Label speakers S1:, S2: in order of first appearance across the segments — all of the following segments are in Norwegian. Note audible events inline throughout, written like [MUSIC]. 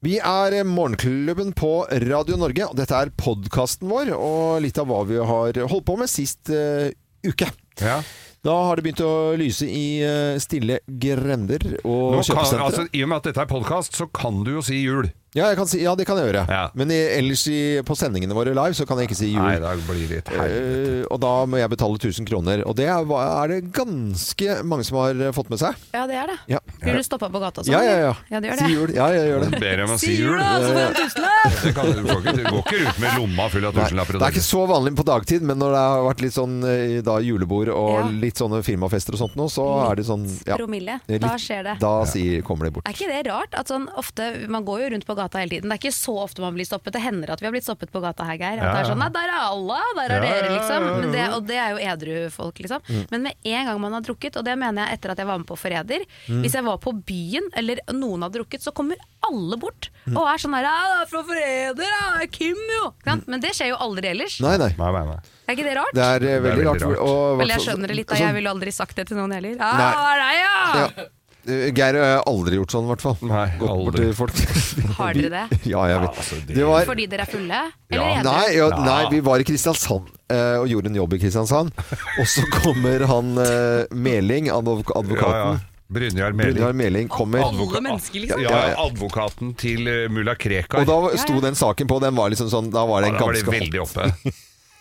S1: Vi er Morgenklubben på Radio Norge. og Dette er podkasten vår og litt av hva vi har holdt på med sist eh, uke. Da har det begynt å lyse i eh, stille grender og
S2: Nå kan,
S1: kjøpesentre.
S2: altså, I og med at dette er podkast, så kan du jo si jul.
S1: ja, jeg kan si, ja, det kan jeg gjøre.
S2: Ja.
S1: Men i, ellers i, på sendingene våre live så kan jeg ikke si jul.
S2: Nei, da blir det et helvete.
S1: Eh, og da må jeg betale 1000 kroner. Og det er, hva- er det ganske mange som har eh, fått med seg.
S3: Ja, det er det.
S1: Ja.
S3: Blir du stoppa på gata og sånn?
S1: Ja, ja, ja.
S3: eller? ja det gjør
S1: Si
S3: det.
S1: jul. Ja, jeg gjør det.
S2: Ber jeg om å
S3: Si
S2: si jul.
S3: jula, så får jeg en tusenlapp!
S2: Det kan, du, får ikke, du går ikke rundt med lomma full av
S1: Nei,
S2: tusenlapper.
S1: det er ikke så vanlig på dagtid, men når det har vært litt sånn eh, da, julebord og
S3: Ja.
S1: litt sånne firmafester og sånt nå, så er det sånn ja,
S3: Promille.
S1: Det er
S3: Da
S1: litt-
S3: skjer det.
S1: Da sier, kommer det bort.
S3: Er ikke det rart? at sånn ofte, Man går jo rundt på gata hele tiden. Det er ikke så ofte man blir stoppet. Det hender at vi har blitt stoppet på gata her, Geir. At det
S2: Ja,
S3: er
S2: ja.
S3: sånn, nei, Der er Allah, der er
S2: Ja,
S3: dere,
S2: ja,
S3: liksom.
S2: ja, ja.
S3: Men det, og det er jo edru folk, liksom.
S1: Mm.
S3: Men med en gang man har drukket, og det mener jeg etter at jeg var med på Forræder
S1: Mm.
S3: Hvis jeg var på byen, eller noen har drukket, så kommer alle bort
S1: Mm.
S3: og er sånn her «Ja, det er fra Forræder, ja, det er Kim, jo! Ikke sant? Men det skjer jo aldri ellers.
S1: Mm. Nei, nei.
S2: Nei, nei, nei.
S3: Er ikke det rart?
S1: Det er eh, veldig,
S2: veldig
S1: rart.
S2: rart.
S1: og-
S3: Vel, jeg skjønner det litt, da.
S1: sånn-
S3: Jeg ville aldri sagt det til noen heller. Ja,
S1: Nei.
S3: hva er altså- Ah, det, ja?
S1: Ja. Eh, Geir har aldri gjort sånn, i hvert fall.
S2: Nei,
S1: Gått bort
S2: aldri.
S1: til folk.
S3: [LAUGHS] Har dere det?
S1: [LAUGHS] Ja, jeg vet.
S2: Altså, det-
S1: Det var
S3: Fordi dere er fulle? Eller
S2: Ja.
S3: edru?
S1: Nei, ja,
S2: Ja.
S1: nei, vi var i Kristiansand eh, og gjorde en jobb i Kristiansand. Og så kommer han eh, Meling,
S2: Ja,
S1: advok
S2: ja.
S1: advokaten.
S2: Brynjar Meling.
S1: Brynjar Meling kommer.
S3: Alle mennesker, liksom.
S2: Ja, advokaten til eh, mulla Krekar.
S1: Og da sto den saken på, den var liksom sånn Da var
S2: Ja,
S1: den
S2: da var det
S1: ganske hot.
S2: veldig oppe.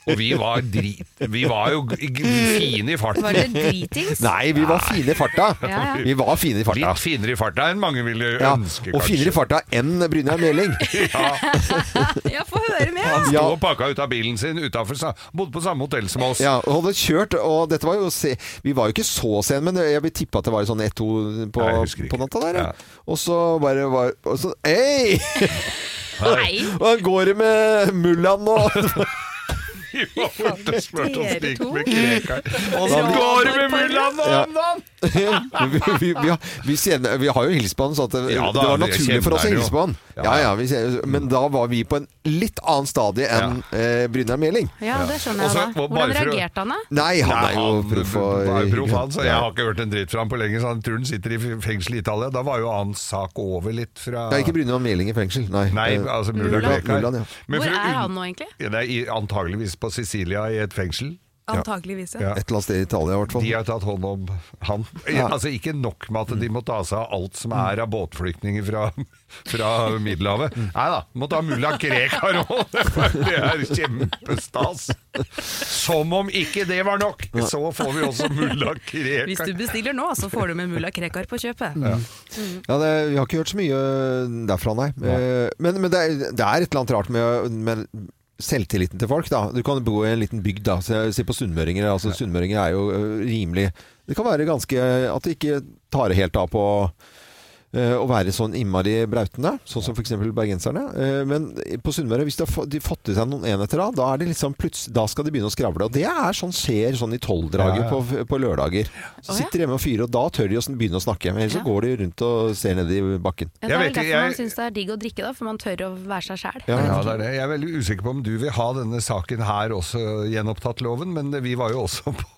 S2: Og vi var drit Vi var jo g- g- fine i farten.
S3: Var dere dritings?
S1: Nei, vi var fine i farta!
S2: [LAUGHS]
S3: Ja, ja.
S1: Vi var fine i farta.
S2: Litt finere i farta enn mange ville
S1: Ja,
S2: ønske,
S1: og finere i farta enn Brynjar Meling.
S2: [LAUGHS]
S3: [LAUGHS] Ja, få høre mer!
S2: Han
S3: da.
S2: sto
S1: Ja.
S2: og pakka ut av bilen sin utenfor, sa- bodde på samme hotell som oss.
S1: Ja, og hadde kjørt, og dette var jo se Vi var jo ikke så sene, men jeg vil tippe at det var sånn ett-to på,
S2: Nei, jeg husker ikke.
S1: på natta der.
S2: Ja.
S1: Ja. Og så bare var Og så Hei!
S3: Nei!
S1: [LAUGHS] Og han går det med mullaen
S2: [LAUGHS] [LAUGHS]
S1: nå?
S2: Vi var borte og smurte oss
S3: Dere
S2: lik
S3: to.
S2: med Krekar. Og
S1: da-
S2: går det med mullaen nå
S1: Ja.
S2: om dagen!
S1: Men [LAUGHS] vi, vi, vi, har, vi, kjenner, vi har jo hilst på han, så at det,
S2: Ja, da,
S1: det var
S2: vi
S1: naturlig for oss å
S2: kjenner jo.
S1: hilse på han.
S2: Ja,
S1: Ja,
S2: ja.
S1: ja, vi kjenner, men da var vi på en litt annen stadie enn eh, Brynjar Meling.
S3: Ja, det skjønner
S2: Også,
S3: jeg da.
S2: bare
S3: Hvordan
S2: for å-
S3: reagerte han da?
S1: Nei, han
S2: Nei,
S1: er jo
S2: han
S1: proff. og-
S2: var jo proff, han, så jeg har ikke hørt en dritt fra han på lenge. Så han tror han sitter i f- fengsel i Italia. Da var jo hans sak over litt fra
S1: Det er ikke Brynjar Meling i fengsel, nei.
S2: Nei,
S1: Eh,
S2: altså mulla
S3: Mulan.
S2: Krekar.
S1: Mulan, ja.
S2: Men
S3: Hvor
S2: for å
S3: er
S2: unn-
S3: han nå, egentlig?
S2: Ja, det er i- antageligvis på Sicilia i et fengsel.
S3: Antakeligvis,
S2: Ja.
S3: [LAUGHS]
S1: Et eller annet sted i Italia, i hvert fall.
S2: De har tatt hånd om han.
S1: Ja.
S2: Altså Ikke nok med at de må ta seg av alt som er av båtflyktninger fra, fra Middelhavet.
S1: Mm.
S2: Nei da, må ta mulla Krekar
S1: [LAUGHS]
S2: òg! Det er kjempestas! Som om ikke det var nok, så får vi også mulla Krekar.
S3: bestiller nå, så får du med mulla Krekar på kjøpet.
S1: Mm. Ja, det, vi har ikke hørt så mye derfra, nei. Eh, Men, men det, er, det er et eller annet rart med, med selvtilliten til folk. da. Du kan bo i en liten bygd, da. Se, se på sunnmøringer. altså Sunnmøringer er jo eh, rimelig Det kan være ganske At de ikke tar det helt av på eh, å være sånn innmari brautende, sånn som f.eks. bergenserne. Eh, Men på Sunnmøre, hvis de har få- de fått i seg noen enheter da, da, er det liksom plutselig- da skal de begynne å skravle. Og det er sånn skjer sånn i tolvdraget
S2: Ja, ja.
S1: På, på lørdager. Så
S3: Å, ja.
S1: sitter de hjemme og fyrer, og da tør de å sn- begynne å snakke. Men ellers så
S3: Ja.
S1: går de rundt og ser ned i bakken.
S3: Ja,
S2: Jeg
S3: det er vel
S2: vet ikke,
S3: derfor
S2: jeg-
S3: man syns det er digg å drikke, da, for man tør å være seg sjæl.
S1: Ja,
S2: Ja, det er det. Jeg er veldig usikker på om du vil ha denne saken her også gjenopptatt loven, men vi var jo også på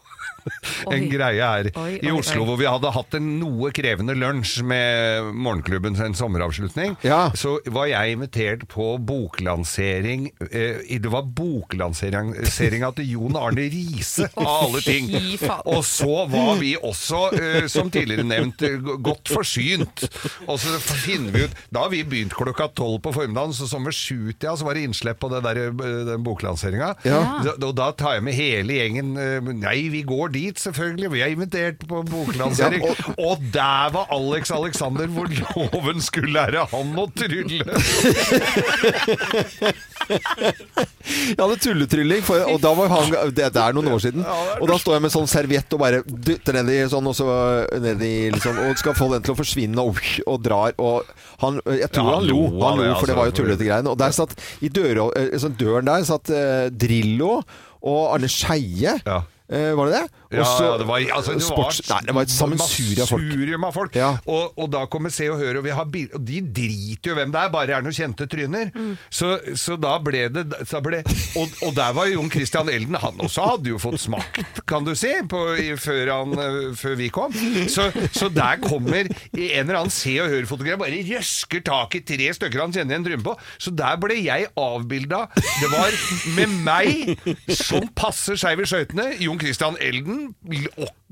S2: [LAUGHS] en
S3: Oi.
S2: greie her
S3: Oi,
S2: i
S3: oi, oi.
S2: Oslo hvor vi hadde hatt en noe krevende lunsj med morgenklubben en sommeravslutning.
S1: Ja.
S2: Så var jeg invitert på boklansering eh, i- Det var boklanseringa til Jon Arne
S3: [LAUGHS]
S2: Riise, av alle ting.
S3: Fy faen.
S2: Og så var vi også, eh, som tidligere nevnt, eh, g- godt forsynt. Og så finner vi ut Da har vi begynt klokka tolv på formiddagen, så som ved sjutida så var det innslipp på det der, eh, den boklanseringa.
S1: Ja.
S2: Så- Og da tar jeg med hele gjengen eh, Nei, vi går dit, selvfølgelig. Vi er invitert på boklansering.
S1: Ja,
S2: og, der var Alex Alexander, hvor loven skulle lære han å trylle.
S1: Jeg hadde tulletrylling, for, og da var han, det, det er noen år siden. Og da står jeg med sånn serviett og bare dytter ned i sånn, og, så, ned i, liksom, og skal få den til å forsvinne, og, og drar. Og han, jeg tror
S2: Ja,
S1: han lo,
S2: lo av
S1: han
S2: det,
S1: lo, for det var jo
S2: altså, for-
S1: tullete greiene. Og der satt, i døra, eh, sånn døren der satt eh, Drillo og Arne Skeie.
S2: Ja.
S1: Eh, var det det?
S2: Ja,
S1: Og så-
S2: ja, det var, altså, det
S1: sports- nei, det var et sammensurium av [LAUGHS] folk.
S2: massurium av folk.
S1: Ja.
S2: Og, og da kommer Se og Hør, og vi har bil, og de driter jo hvem det er, bare det er noen kjente tryner. Så, så da ble det da ble, og, og der var jo Jon Christian Elden, han også hadde jo fått smakt, kan du si, på, i, før, han, eh, før vi kom. Så, så der kommer en eller annen Se og Hør-fotograf, bare røsker tak i tre stykker han kjenner igjen trynet på. Så der ble jeg avbilda. Det var med meg som passer skeiv i skøytene, Jon Christian Elden, l-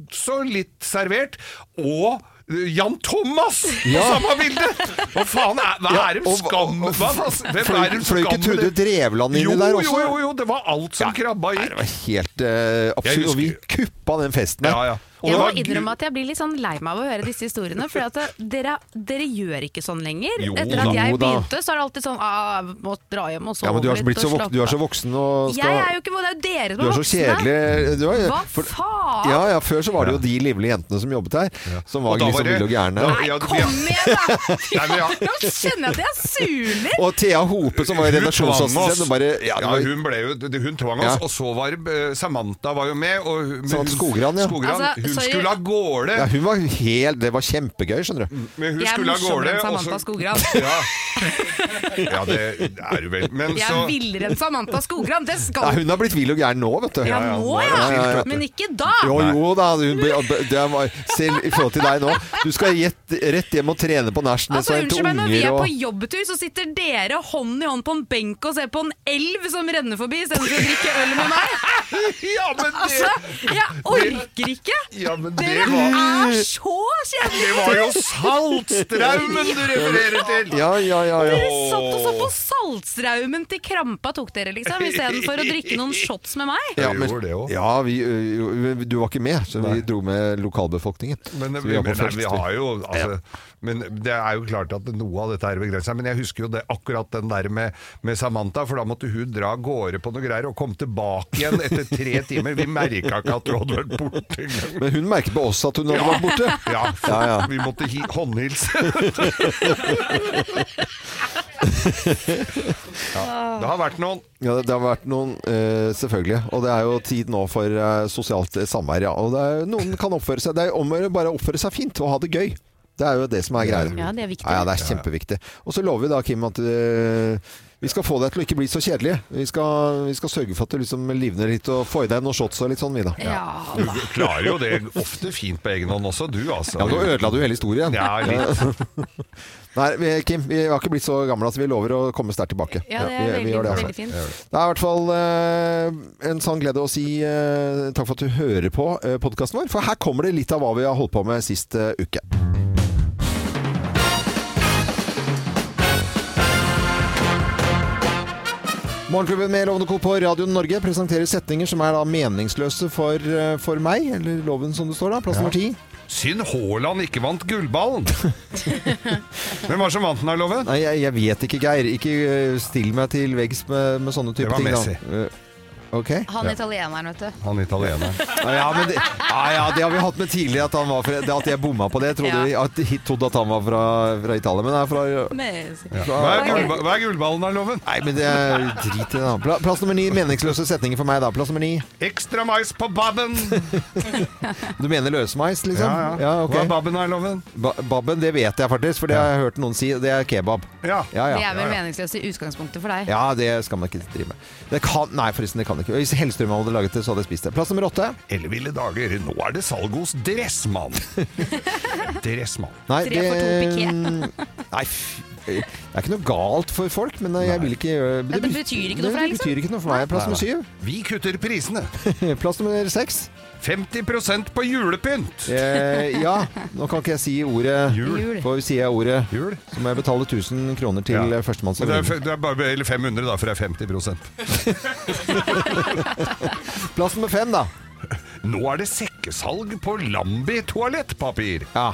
S2: også litt servert, og eh, Jan Thomas på
S1: Ja.
S2: samme bilde! Hva faen er, hva
S1: Ja,
S2: er det
S1: og-
S2: skam?
S1: og-
S2: Hva, faen- hvem
S1: Fløy
S2: er det
S1: fløy ikke
S2: skam med
S1: Trude
S2: det?
S1: Drevland inni
S2: jo,
S1: der også?
S2: Jo, jo, jo, det var alt som krabba i.
S1: Det var helt eh, absurd. Og vi kuppa den festen der.
S2: Ja, ja. Og
S3: Jeg
S2: det
S3: må
S2: var gru-
S3: innrømme at jeg blir litt sånn lei meg av å høre disse historiene. For at eh, dere, dere gjør ikke sånn lenger.
S2: Jo
S3: Etter at
S1: da. Jo
S3: jeg
S1: da.
S3: begynte, så er det alltid sånn ah, jeg Må dra hjem og sove
S1: Ja, men du er,
S3: litt
S1: blitt så
S3: og
S1: vok
S3: slappe
S1: du er så
S3: av.»
S1: voksen og
S3: Jeg er jo ikke voksen. Det er jo dere
S1: Du
S3: som
S1: er
S3: er
S1: så
S3: voksne.
S1: kjedelig. Du er,
S3: Hva
S1: for-
S3: faen?
S1: Ja, ja, Før så var det jo de livlige jentene som jobbet her, som var
S2: Og da
S1: liksom
S2: var det-
S1: ville og gærne.
S2: da-
S3: Nei,
S2: Ja, vi-
S3: kom igjen, da!
S2: Nei, men ja.
S3: [LAUGHS] Nå kjenner jeg at jeg surner!
S1: Og Thea Hope, som var
S2: Hun tvang oss.
S1: redaksjonsassistent, hun bare ja,
S2: ja,
S1: det var,
S2: hun, ble jo, det- hun tvang oss,
S1: Ja.
S2: og så var eh, Samantha var jo med. Og, hun- men
S1: Samantha
S2: hun-
S1: Skogran, ja.
S2: Skogran,
S3: Altså,
S2: hun
S3: sorry.
S2: skulle av gårde. Mm,
S1: ja, hun var helt Det var kjempegøy, skjønner du.
S2: Men hun
S3: Jeg er
S2: skulle av
S3: morsommere
S2: gårde.
S3: enn
S2: og
S3: Samantha
S2: så-
S3: Skogran.
S2: [LAUGHS] Ja. ja, det er du vel. Men
S3: Jeg
S2: så
S3: er villere enn Samantha Skogran! Det
S1: Nei,
S3: skal
S1: hun har blitt vill og gæren nå, vet du.
S3: Ja, nå,
S2: Ja, ja,
S3: ja!
S2: ja.
S3: Men ikke da!
S1: Jo, jo da. Hun ble, det var, selv i forhold til deg nå. Du skal gjett, rett hjem og trene på nachspiel.
S3: Altså,
S1: til
S3: unnskyld meg, når vi er
S1: unger
S3: på
S1: og
S3: jobbtur, så sitter dere hånd i hånd på en benk og ser på en elv som renner forbi, istedenfor å drikke øl med meg.
S2: [LAUGHS] Ja, men det,
S3: Altså, jeg orker ikke!
S2: ja, men det
S3: Dere er
S2: var
S3: så kjedelige!
S2: Det var jo Saltstraumen du refererer til!
S1: Ja, ja, ja. ja.
S3: Dere satt og så på Saltstraumen til krampa tok dere, liksom, istedenfor å drikke noen shots med meg.
S1: Ja,
S2: Vi gjorde det også.
S1: ja vi, ø, jo, du var ikke med, så vi dro med lokalbefolkningen.
S2: Men,
S1: så
S2: men,
S1: vi var på
S2: nei,
S1: første
S2: vi har jo, altså, men det er jo klart at noe av dette er begrensa. Men jeg husker jo det, akkurat den der med, med Samantha, for da måtte hun dra av gårde på noe greier og komme tilbake igjen etter tre timer. Vi merka ikke at du hadde vært borte engang.
S1: Men hun merket på oss at hun hadde vært borte.
S2: Ja,
S1: Ja, ja.
S2: vi måtte hi håndhilse. ja, det har vært noen.
S1: Ja, det, det har vært noen, eh, selvfølgelig. Og det er jo tid nå for eh, sosialt eh, samvær. Ja. Og det er, noen kan oppføre seg Det er om å gjøre bare å oppføre seg fint og ha det gøy. Det er jo det som er greia.
S3: Ja, det er viktig.
S1: Ja, ja, det er kjempeviktig. Og så lover vi da, Kim, at eh, vi skal få deg til å ikke bli så kjedelig. Vi skal, vi skal sørge for at du liksom livner litt og får i deg noen shots og litt sånn, vi da.
S3: Ja,
S2: Du klarer jo det ofte fint på egen hånd også, du altså.
S1: Ja, nå ødela du hele historien.
S2: Ja, litt.
S1: [LAUGHS] Nei, vi, Kim, vi har ikke blitt så gamle at vi lover å komme sterkt tilbake.
S3: ja, det
S1: vi,
S3: er
S1: vi
S3: veldig,
S1: gjør det, altså.
S3: veldig fint.
S1: Det er i hvert fall eh, en sann glede å si eh, takk for at du hører på eh, podkasten vår, for her kommer det litt av hva vi har holdt på med sist eh, uke. Morgenklubben med Lovende Co. på Radio Norge presenterer setninger som er da meningsløse for, eh, for meg, eller loven som det står da, plass nummer ti.
S2: Synd Haaland ikke vant gullballen! Hvem var det som vant den, her, Love?
S1: Nei, jeg, jeg vet ikke, Geir. Ikke eh, still meg til veggs med, med sånne
S2: Det
S1: type
S2: var
S1: ting.
S2: Messi.
S1: Da. Eh, Ok.
S3: Han italieneren, vet du.
S2: Han italieneren.
S1: [LAUGHS] Ja, Ja, men det, ja, ja, det har vi hatt med tidligere, at, han var fra, det at jeg bomma på det. Jeg trodde,
S3: Ja.
S1: at, jeg trodde at han var fra, fra Italia, men han er fra É.
S3: Ja.
S2: Hva er, gullba hva er gullballen, her, Loven?
S1: Nei, men det er drit i det. da. Pla- Plass nummer ni. Meningsløse setninger for meg, da. Plass nummer ni.
S2: Ekstra mais på babben!
S1: Du mener løsmeis, liksom? ok.
S2: Hva er babben, her, Loven?
S1: ba babben, det vet jeg faktisk, for det har jeg hørt noen si. Det er kebab.
S2: Ja.
S1: Ja,
S3: Det
S1: ja.
S3: er vel meningsløst i utgangspunktet for deg.
S1: Ja, det skal man ikke drive med. Det kan, nei, forresten, det kan ikke. Hvis Hellstrøm hadde laget det, så hadde jeg spist det. Plass nummer åtte.
S2: Elleville dager, nå er det salg hos Dressmann! Dressmann.
S1: Nei,
S3: Tre for to
S1: [LAUGHS] Nei, f- det er ikke noe galt for folk, men eh, jeg vil ikke gjøre
S3: Ja, det betyr ikke noe for deg,
S1: Det
S3: liksom.
S1: betyr ikke noe for meg. Plass nummer syv.
S2: Vi kutter prisene!
S1: [LAUGHS]
S3: [LAUGHS]
S1: Plass nummer seks.
S2: 50 på julepynt!
S1: Eh, ja, nå kan ikke jeg si ordet
S3: Jul.
S1: For sier jeg ordet,
S2: Jul?
S1: så må jeg betale 1000 kroner til
S2: [LAUGHS] Ja.
S1: eh, førstemann som
S2: Men det er, f-
S1: vinner.
S2: det er bare eller 500, da, for det er 50
S1: [LAUGHS] Plass nummer fem, da.
S2: Nå er det sekkesalg på Lambi toalettpapir!
S1: Ja.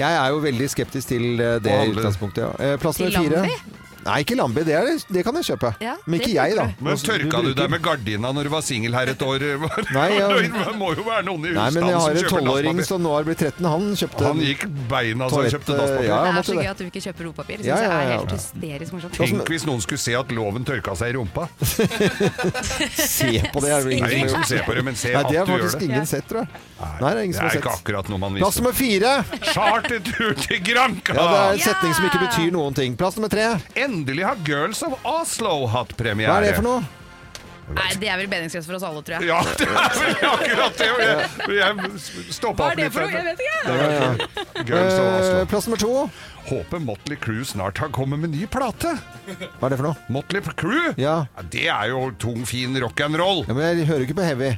S1: Jeg er jo veldig skeptisk til eh, det i
S2: Alle.
S1: utgangspunktet. Ja. Eh, Plass
S3: Til
S1: nummer fire.
S3: Lambi?
S1: Nei, ikke Lambi. Det, er, det kan jeg kjøpe.
S3: Ja,
S1: Men
S3: det
S1: ikke jeg, da.
S3: bruker
S2: Men
S1: Altså,
S2: tørka du
S1: bruker-
S2: deg med gardina når du var singel her et år? [LAUGHS]
S1: Nei, jeg-
S2: det må jo være noen i
S1: Nei, men jeg har
S2: husstanden som
S1: en
S2: kjøper
S1: tolvåring
S2: dasspapir.
S1: som nå har blitt 13. Han kjøpte
S2: Han gikk beina så han
S1: Toalett, eh,
S2: kjøpte dasspapir.
S1: ja.
S3: det
S1: måtte
S3: er så
S1: det.
S3: gøy at du ikke kjøper dopapir. Det
S1: Ja,
S3: synes jeg
S1: ja,
S3: er
S1: ja,
S3: helt
S1: ja.
S3: hysterisk morsomt.
S2: Tenk hvis noen skulle se at loven tørka seg i rumpa. Det
S1: [LAUGHS] Se på det, er det
S2: er
S1: ingen
S2: ingen som
S1: som gjør.
S2: ser på det, men ser
S1: Nei,
S2: at
S1: det har
S2: du gjør
S1: faktisk
S2: det.
S1: ingen sett, tror jeg. Nei, det er ingen som
S2: Det
S1: har
S2: er ikke
S1: sett.
S2: akkurat noe man
S1: Plass
S2: visste.
S1: nummer fire!
S2: Chartertur til Granca!
S1: Ja, det er en
S3: Ja!
S1: setning som ikke betyr noen ting. Plass nummer tre.
S2: Endelig har Girls of Oslo hatt premiere.
S1: Hva er det for noe?
S3: Nei, det er vel bedringsgrense for oss alle, tror jeg.
S2: Ja, det er vel akkurat det. og Jeg, jeg
S3: Hva
S2: stoppa opp
S3: er det
S2: litt.
S3: for noe? Jeg vet ikke.
S1: Ja, ja.
S2: Girls of
S1: Eh,
S2: Oslo.
S1: Plass nummer to.
S2: Håper Motley Crue snart har kommet med ny plate.
S1: Hva er det for noe?
S2: Motley Crue?
S1: Ja.
S2: Det er jo tung, fin rock'n'roll.
S1: Ja, men Jeg hører ikke på heavy.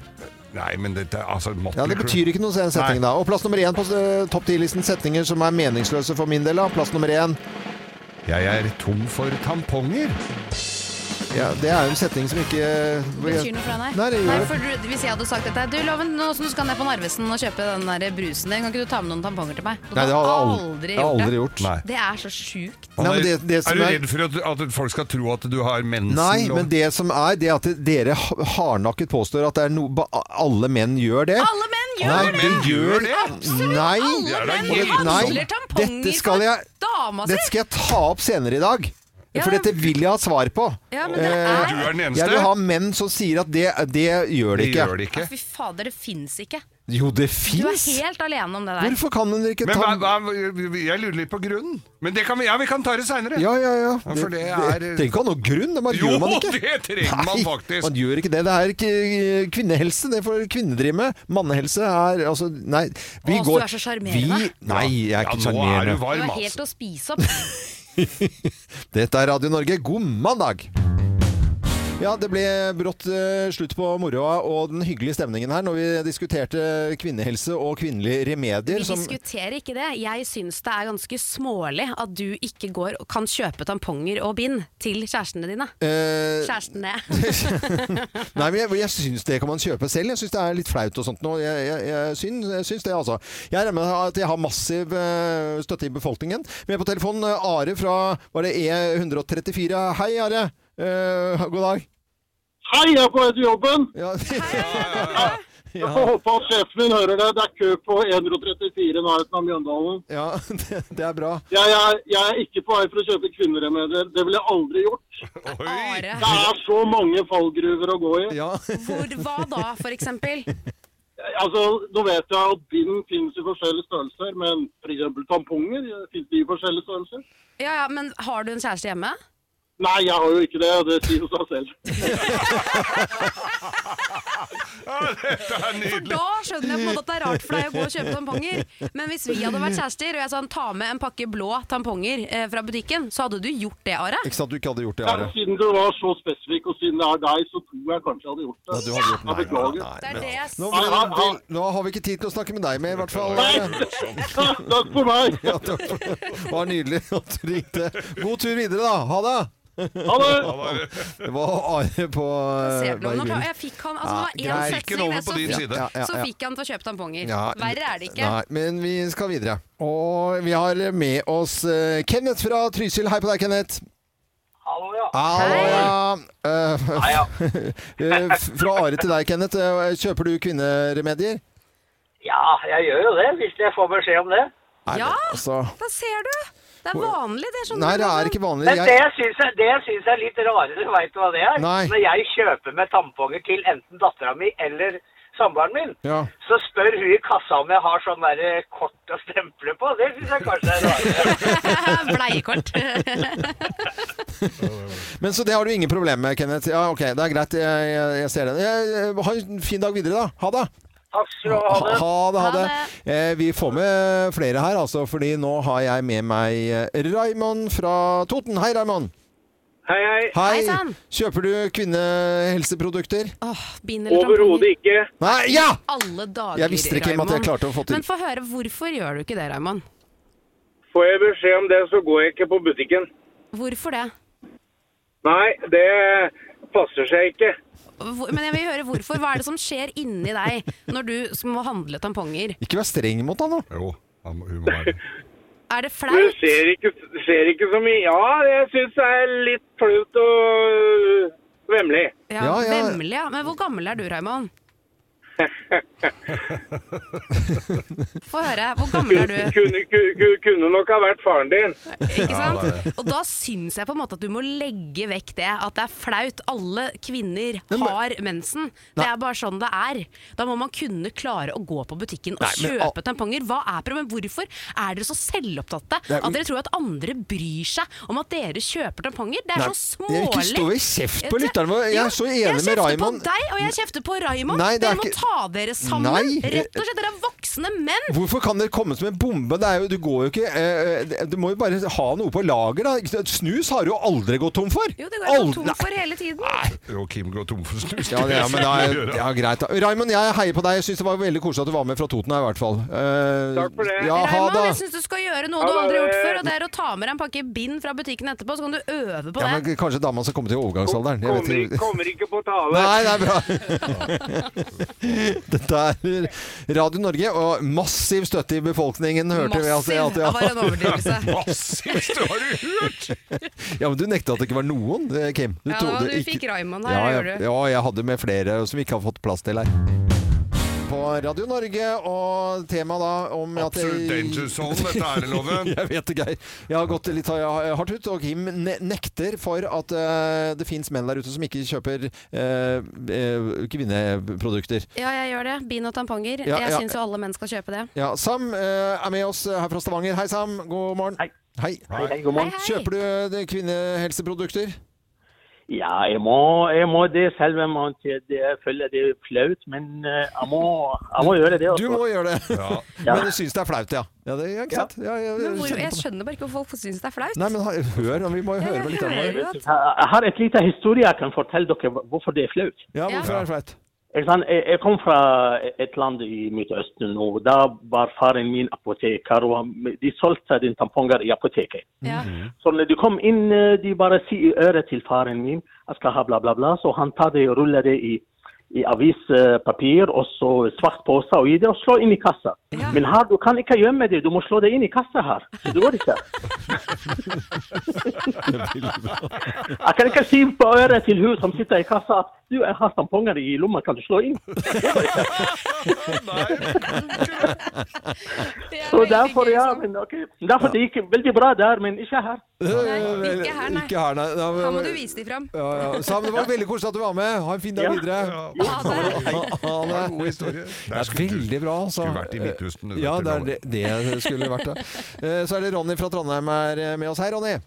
S2: Nei, men dette altså Motley
S1: Ja, Det betyr ikke noe, sier den setningen da. Og plass nummer én på eh, topp ti-listen setninger som er meningsløse for min del. da. Plass nummer én.
S2: Crue. Jeg er tom for tamponger.
S1: Ja, det er jo en setning som ikke
S3: Det betyr noe for deg,
S1: Nei, det gjør det.
S3: for du, hvis jeg hadde sagt dette Du, Loven, nå som du skal ned på Narvesen og kjøpe den der brusen din, kan ikke du ta med noen tamponger til meg? Du
S1: Nei, det har jeg
S3: hadde
S1: aldri, jeg har aldri gjort.
S2: Nei.
S3: Det er så sjukt.
S1: Nei, men det- det
S2: er
S1: som
S2: du
S1: er-
S2: redd for at, at folk skal tro at du har mensen?
S1: Nei,
S2: og-
S1: men det som er, det er at dere ha- hardnakket påstår at det er no, ba, alle menn gjør det.
S3: Alle menn gjør
S1: Nei,
S3: det!
S2: menn
S1: de gjør
S2: gjør det.
S1: Absolutt! Nei!
S3: Alle
S2: er da
S3: menn
S2: helt-
S1: Nei,
S3: handler tamponger
S1: dette skal jeg-
S3: for dama si!
S1: Dette skal jeg ta opp senere i dag.
S3: Ja,
S1: For
S3: men-
S1: dette vil jeg ha svar på.
S3: Ja, men det
S1: Eh,
S2: Du
S3: er
S2: er den eneste.
S1: Jeg vil ha menn som sier at det, det gjør
S2: det
S1: det ikke.
S2: gjør det ikke.
S3: Fy fader, det fins ikke.
S1: Jo, det
S3: Du er
S1: fins!
S3: helt alene om det der.
S1: Hvorfor kan dere ikke
S2: Men hva,
S1: ta
S2: hva, jeg lurer litt på grunnen. Men det kan vi, ja, vi kan ta det seinere.
S1: Ja, ja, ja.
S2: Ja, for det er-
S1: det trenger ikke å ha noen grunn. Det bare
S2: Jo,
S1: gjør man ikke.
S2: det trenger man
S1: Nei,
S2: faktisk.
S1: Man gjør ikke det. Det er ikke eh, kvinnehelse. Det får kvinner drive med. Mannehelse er altså Nei. Vi
S3: Åh, så
S1: går
S3: du er så sjarmerende.
S1: Vi- Nei, jeg er
S2: Ja, nå
S1: ikke
S2: er du
S1: sjarmerende.
S3: Det
S2: varm,
S3: var
S2: altså.
S3: helt å spise opp.
S1: [LAUGHS] Dette er Radio Norge. God mandag! Ja, Det ble brått eh, slutt på moroa og den hyggelige stemningen her når vi diskuterte kvinnehelse og kvinnelige remedier.
S3: Vi
S1: som-
S3: diskuterer ikke det. Jeg syns det er ganske smålig at du ikke går og kan kjøpe tamponger og bind til kjærestene dine.
S1: Eh,
S3: Kjærestene.
S1: Nei, men jeg, jeg syns det kan man kjøpe selv. Jeg syns det er litt flaut og sånt nå. Jeg, jeg, jeg, syns, jeg syns det, altså. Jeg regner med at jeg har massiv eh, støtte i befolkningen. Med på telefonen eh, Are fra var det E E134. Hei, Are. Eh, god dag.
S4: Hei, jeg er på vei til jobben.
S1: Ja. [LAUGHS]
S4: Jeg får håpe at sjefen min hører det. Det er kø på 134 i nærheten av Mjøndalen.
S1: ja, det, det er bra.
S4: Jeg er, jeg er ikke på vei for å kjøpe kvinneremedier. Det ville jeg aldri gjort.
S2: Oi.
S3: Are,
S4: Det er så mange fallgruver å gå i.
S1: Ja.
S3: hvor, hva da, for eksempel?
S4: Altså, Nå vet jeg at bind finnes i forskjellige størrelser, men f.eks. tamponger eh, finnes de i forskjellige størrelser?
S3: Ja, ja, men har du en kjæreste hjemme?
S4: Nei, jeg har jo ikke det. og Det sier jo seg selv.
S2: [LAUGHS] Ja, dette er
S3: For
S2: nydelig.
S3: da skjønner jeg på en måte at det er rart for deg å gå og kjøpe tamponger. Men hvis vi hadde vært kjærester, og jeg sa ta med en pakke blå tamponger eh, fra butikken, så hadde du gjort det, Are.
S1: Ikke sant du ikke hadde gjort det,
S4: Ja,
S1: Are?
S4: siden du var så spesifikk, og siden det er deg, så tror jeg kanskje jeg hadde gjort det.
S1: Ja, du hadde gjort-
S4: Jeg beklager.
S1: Nei,
S3: Det er
S1: men-
S3: det jeg s-
S1: nå, ble- nå har vi ikke tid til å snakke med deg mer, i hvert fall. [LAUGHS] Are.
S4: Nei! Takk for meg!
S1: Ja, takk for det. Det var nydelig at du ringte. God tur videre, da. Ha det!
S4: Ha
S1: [LAUGHS]
S4: det!
S1: Det var Are på
S3: Ser du,
S1: eh,
S3: nå
S1: vei-
S3: klar- jeg fikk han, altså, det var én
S1: Ja, greit.
S2: Fikk den
S3: setning,
S2: over
S3: det,
S2: på
S3: så,
S2: din
S3: fikk-
S2: side.
S1: Ja, ja,
S3: så
S1: ja.
S3: fikk han til å kjøpe tamponger.
S1: Ja,
S3: Verre er det ikke.
S1: Nei, men vi skal videre. Og vi har med oss eh, Kenneth fra Trysil. Hei på deg, Kenneth.
S4: Hallo, ja.
S1: Hallo,
S3: Hei.
S1: ja. Eh,
S4: Nei, ja.
S1: eh, [LAUGHS] fra Are til deg, Kenneth. Eh, Kjøper du kvinneremedier?
S4: ja, jeg gjør jo det, hvis jeg får beskjed om det.
S1: Nei,
S3: Ja.
S1: men altså.
S3: Da ser du! Det er vanlig, det. Sånn
S1: Nei, det er ikke vanlig.
S4: Men det
S1: Jeg, [LAUGHS]
S4: jeg syns er, det jeg synes er litt rarere, veit du hva det er?
S1: Nei.
S4: Når jeg kjøper med tamponger til enten dattera mi eller samboeren min,
S1: Ja.
S4: så spør hun i kassa om jeg har sånn derre kort å stemple på. Det syns jeg kanskje er rarere.
S3: [LAUGHS] [LAUGHS] Bleiekort. [LAUGHS]
S1: men så det har du ingen problemer med, Kenneth. Ja, ok, det er greit. Jeg, jeg, jeg ser den. Jeg, jeg, ha en fin dag videre, da. Ha det!
S4: Takk skal du ha.
S1: Ha
S4: det.
S1: ha det, ha
S3: Ha
S1: det. Eh, vi får med flere her, altså, fordi nå har jeg med meg eh, Raymond fra Toten. Hei, Raymond.
S4: Hei, hei.
S1: Hei.
S3: Hei sann.
S1: Kjøper du kvinnehelseprodukter?
S3: Åh, bind eller tamponger.
S4: ikke.
S1: Nei, ja!
S3: Alle dager,
S1: Jeg visste ikke, Kim, at jeg
S3: Raymond.
S1: klarte å få til-
S3: Men få høre, hvorfor gjør du ikke det, Raymond?
S4: Får jeg beskjed om det, så går jeg ikke på butikken.
S3: Hvorfor det?
S4: Nei, det passer seg ikke.
S3: Hvor, men jeg vil høre hvorfor. Hva er det som skjer inni deg når du må handle tamponger?
S1: Ikke vær streng mot han nå.
S2: Jo, han må- hun må være det.
S3: Er det
S5: Du
S3: flaut?
S5: ser ikke, ser ikke så mye Ja, jeg syns det er litt flaut og øh, vemmelig.
S3: Ja,
S1: Ja, ja.
S3: Vemmelig, ja. Men hvor gammel er du, Raymond? Få høre. Hvor gammel er du?
S5: [LAUGHS] Kunne, kunne, kunne nok ha vært faren din.
S3: Ikke sant? Og da syns jeg på en måte at du må legge vekk det. At det er flaut. Alle kvinner har mensen. Det er bare sånn det er. Da må man kunne klare å gå på butikken og
S1: Nei, men al-
S3: kjøpe tamponger. Hva er problemet? Hvorfor er dere så selvopptatte
S1: Nei,
S3: at
S1: men-
S3: dere tror at andre bryr seg om at dere kjøper tamponger? Det
S1: Nei,
S3: er så
S1: jeg vil ikke
S3: smålig.
S1: stå i kjeft på
S3: Jeg-
S1: lytterne våre. Jeg er
S3: Jo,
S1: så enig med
S3: Jeg kjefter på
S1: Raymond.
S3: deg, og jeg kjefter på Raymond.
S1: Nei, det er
S3: dere må
S1: ikke-
S3: ta dere sammen.
S1: Nei.
S3: Rett og slett, dere er voksne menn.
S1: Hvorfor kan det komme som en bombe? Det er jo, du går jo ikke eh, eh, Du må jo bare ha noe på lager, da. Ikke sant? Snus har du jo aldri gått tom for.
S3: Jo, det går jeg
S1: Aldri-
S3: så tom for hele tiden.
S2: Jo, Kim går tom for snus.
S1: Ja, det, ja, men da er,
S2: [LAUGHS]
S1: ja, greit. da. Raymond, jeg heier på deg. Jeg syns det var veldig koselig at du var med fra Toten her, i hvert fall. Eh,
S5: Takk for det.
S1: Ja, ha
S3: Raymond,
S1: det.
S3: jeg syns du skal gjøre noe
S5: Ha
S3: du aldri har gjort
S5: det.
S3: før, og det er å ta med deg en pakke bind fra butikken etterpå, så kan du øve på det.
S1: Ja, men kanskje dama skal komme til overgangsalderen. Jeg
S5: Kommer,
S1: vet
S5: ikke-
S1: ikke.
S5: kommer ikke på tale.
S1: Nei, det er bra. [LAUGHS] Dette er Radio Norge, og massiv støtte i befolkningen, hørte vi. Altså, at-
S3: Det var en
S1: [LAUGHS]
S3: overdrivelse.
S2: Massivt, har du hørt?
S1: Ja, men du nekta at det ikke var noen, eh, Kim.
S3: Ja,
S1: trodde
S3: du
S1: ikke-
S3: fikk Raymond
S1: ja,
S3: her,
S1: jeg-
S3: gjorde du.
S1: Ja, jeg hadde med flere som vi ikke har fått plass til her. På Radio Norge, og tema da om at
S2: Absolutt danger zone, dette er det, Loven.
S1: [LAUGHS] Jeg vet det, Geir. Jeg har gått litt hardt ut, og Kim ne nekter for at eh, det fins menn der ute som ikke kjøper eh, eh, kvinneprodukter.
S3: Ja, jeg gjør det. Bind og tamponger.
S1: Ja,
S3: Jeg
S1: ja.
S3: syns jo alle menn skal kjøpe det.
S1: Ja, Sam eh, er med oss her fra Stavanger. Hei, Sam. God morgen.
S6: Hei.
S1: Hei.
S6: Hei, hei, god morgen.
S3: Hei, hei.
S1: Kjøper du eh, kvinnehelseprodukter?
S6: Ja, jeg må, jeg må det selv om man til- det føler det er flaut, men eh, jeg må, jeg må gjøre det.
S1: Du
S6: Altså.
S1: må gjøre det. [LAUGHS]
S2: Ja.
S6: Ja.
S1: Men du syns det er flaut, ja. Ja, det er ikke sant. Ja, ja,
S3: Men hvor,
S1: kjenner
S3: jeg
S1: på det.
S3: skjønner bare ikke hvorfor folk syns det er flaut.
S1: Nei, men ha- hør, vi må jo høre med litt av det.
S3: hører jo at
S6: Jeg jeg har et lite historie jeg kan fortelle dere hvorfor det er flaut.
S3: Ja.
S1: Ja, hvorfor er det flaut?
S6: Ikke sant? Jeg, jeg kom fra et land i Midtøsten, og da var faren min apoteker, og han- de solgte den tamponger i apoteket.
S3: Ja.
S6: Så når de kom inn, eh, de bare sier i øret til faren min jeg skal ha bla, bla, bla. Så han tar det og ruller det i, i avispapir og så svart pose og gir det og slår inn i kassa.
S3: Ja.
S6: Men her, du kan ikke gjemme det, du må slå det inn i kassa her. Det går ikke. jeg kan ikke si på øret til hun som sitter i kassa at du, jeg har tamponger i lomma, kan du slå inn?
S3: Det er
S6: Så
S3: veldig
S6: derfor,
S3: gøy,
S6: ja,
S3: Sam.
S6: men, ok. derfor det gikk veldig bra der, men ikke her.
S3: Nei, ikke her, nei.
S1: Ikke her, nei. Ja,
S3: Da
S1: men-
S3: må du vise de fram.
S1: eh, Ja, ja. [LAUGHS] Sam, det var veldig koselig at du var med. Ha en fin dag
S6: Ja.
S1: videre.
S2: Ja,
S3: Ha det.
S1: Ha
S2: det er
S1: det.
S2: en god historie.
S1: Det er veldig bra, altså.
S2: Skulle vært i Midtøsten, du,
S1: Ja,
S2: vet du,
S1: det er det,
S2: Loven.
S1: det skulle vært
S2: [LAUGHS]
S1: det. Eh, Så er det Ronny fra Trondheim er eh, med oss. Hei, Ronny.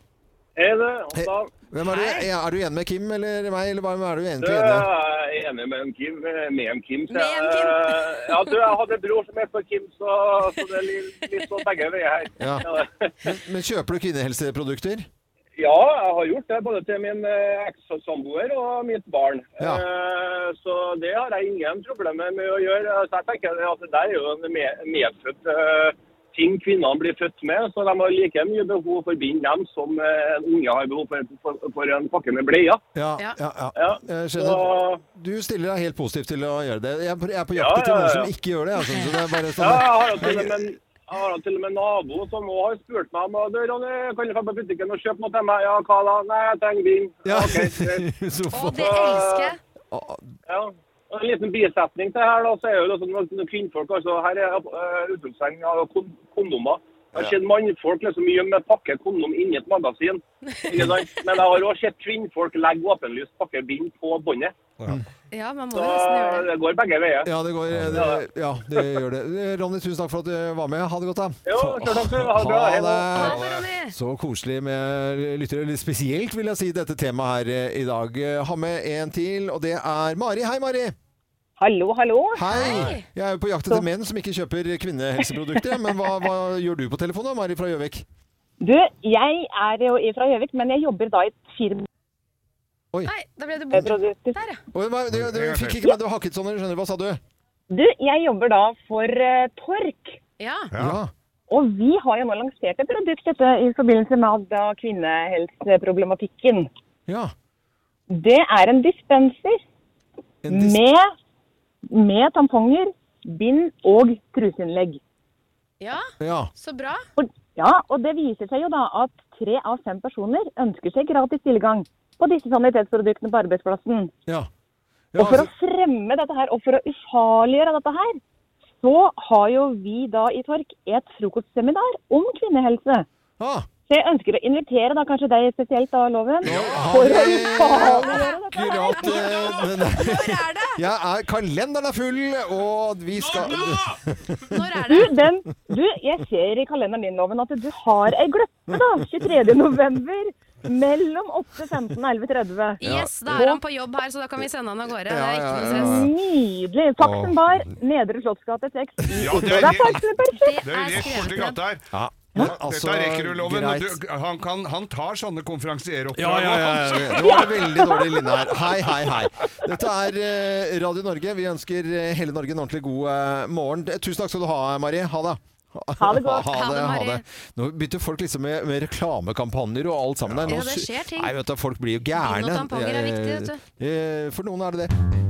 S5: Er det? Og da,
S1: Hvem er, du, er du enig med Kim eller meg, eller hvem er du
S5: du
S1: egentlig enig med?
S5: er jeg enig med en Kim. Med en Kim. så
S3: Med en Kim.
S5: jeg- Ja, du, jeg hadde en bror som het Kim, så, så det er litt, litt sånn begge veier her.
S1: Ja.
S5: Ja.
S1: Men, men kjøper du kvinnehelseprodukter?
S5: [LAUGHS] Ja, jeg har gjort det. Både til min eh, ekssamboer og mitt barn.
S1: Ja.
S5: Eh, Så det har jeg ingen problemer med å gjøre. Så jeg tenker at Det der er jo en med- medfødt eh, ting kvinnene blir født med. Så de har like mye behov for bind dem som eh, en unge har behov for, for, for en pakke med bleier.
S1: Ja, ja,
S3: Ja.
S1: ja.
S5: Ja.
S1: Jeg
S5: Så,
S1: skjønner. Du stiller deg helt positiv til å gjøre det. Jeg er på- jeg er på jakt
S5: Ja,
S1: etter
S5: ja, ja.
S1: noen som ikke gjør det. Altså. Så det er
S5: ja,
S1: bare
S5: jeg
S1: sånn.
S5: har jo til og med en jeg har jo til og med en nabo som også har spurt meg om «Du, Ronny, kan du dra på butikken og kjøpe noe til meg. Ja, hva da? Nei, jeg trenger bind.
S1: Ja.
S5: Ok, greit.
S1: [LAUGHS] Så
S3: Og
S1: for-
S3: det elsker jeg.
S5: Ja. Og en liten bisetning til her, da, så er jo det sånn at når kvinnfolk altså, Her er uh, utropstegn av kon- kondomer. Jeg har sett mannfolk liksom gjemme en pakke kondom inni et magasin. Ikke sant? Men jeg har også sett kvinnfolk legge åpenlyst pakkebind på båndet.
S3: Ja, man må
S5: Så
S3: jo nesten gjøre det.
S5: det går begge veier.
S1: Ja, det går det, Ja, det gjør det. Eh, Ronny, tusen takk for at du var med. Ha det godt, da.
S5: Jo, sjøl takk. skal du Ha det bra. Hei da.
S1: Ha
S3: Ha
S1: det.
S3: det, Ronny.
S1: Så koselig med lyttere. Litt spesielt, vil jeg si, dette temaet her eh, i dag. Eh, Ha med en til, og det er Mari. Hei, Mari.
S7: Hallo, hallo.
S1: Hei! Jeg er jo på jakt etter menn som ikke kjøper kvinnehelseprodukter. Men hva, hva gjør du på telefonen, da, Mari fra Gjøvik?
S7: Du, jeg er jo fra Gjøvik, men jeg jobber da i et firma
S3: Nei, da ble du
S7: med
S3: borte.
S7: produkter.
S3: Der, ja.
S1: Oi, hva- Du, du fikk ikke med du hakket sånn, eller skjønner du? Hva sa du?
S7: Du, jeg jobber da for eh, Tork.
S3: ja.
S1: Ja.
S7: Og vi har jo nå lansert et produkt dette, i forbindelse med da kvinnehelseproblematikken.
S1: ja.
S7: Det er en dispenser
S1: En dis-
S7: med, med tamponger, bind og truseinnlegg.
S3: Ja,
S1: ja.
S3: så bra.
S7: For, Ja, og det viser seg jo da at tre av fem personer ønsker seg gratis tilgang på disse sanitetsproduktene på arbeidsplassen.
S8: Ja. altså-
S7: Og for å fremme dette her, og for å ufarliggjøre dette her, så har jo vi da i Tork et frokostseminar om kvinnehelse.
S8: ah,
S7: Så jeg ønsker å invitere da kanskje deg spesielt da, Loven, for å ufarliggjøre dette her.
S8: akkurat eh, den der.
S3: Når er det?
S1: Ja, er, kalenderen er full, og vi skal [LAUGHS]
S3: Når er
S7: Du,
S3: det?
S7: den, du, jeg ser i kalenderen din, Loven, at du har ei gløppe da, 23. november mellom 8.15 og 11.30.
S3: Yes, da er han på jobb her, så da kan vi sende han av gårde. Det er ikke noe stress.
S7: Nydelig. Faxen bar, Nedre Slottsgate 6 i
S2: Ja,
S7: Oslo.
S2: det
S7: Det
S2: er-
S7: er faktisk perfekt.
S2: Det er rett borti
S3: skrevet ned.
S2: gata her.
S1: altså,
S2: Dette rekker du, Loven.
S1: greit.
S2: Du, han, kan, han tar sånne konferansieroppdrag.
S8: Ja, ja, ja, ja, ja.
S1: Det var en veldig dårlig linje her. Hei, hei, hei. Dette er eh, Radio Norge. Vi ønsker eh, hele Norge en ordentlig god eh, morgen. Eh, Tusen takk skal du ha, Marie. Ha det.
S7: Ha det godt.
S1: [LAUGHS] Ha
S3: Ha
S1: det,
S3: det,
S1: ha
S3: Marie.
S1: det. Nå begynte folk liksom med, med reklamekampanjer og alt sammen der. Nå
S3: Ja, det
S1: sy-
S3: skjer ting.
S1: Nei, vet du, folk blir jo
S3: Vin og
S1: gærne.
S3: tamponger er viktig, vet
S1: Eh, For noen er det det.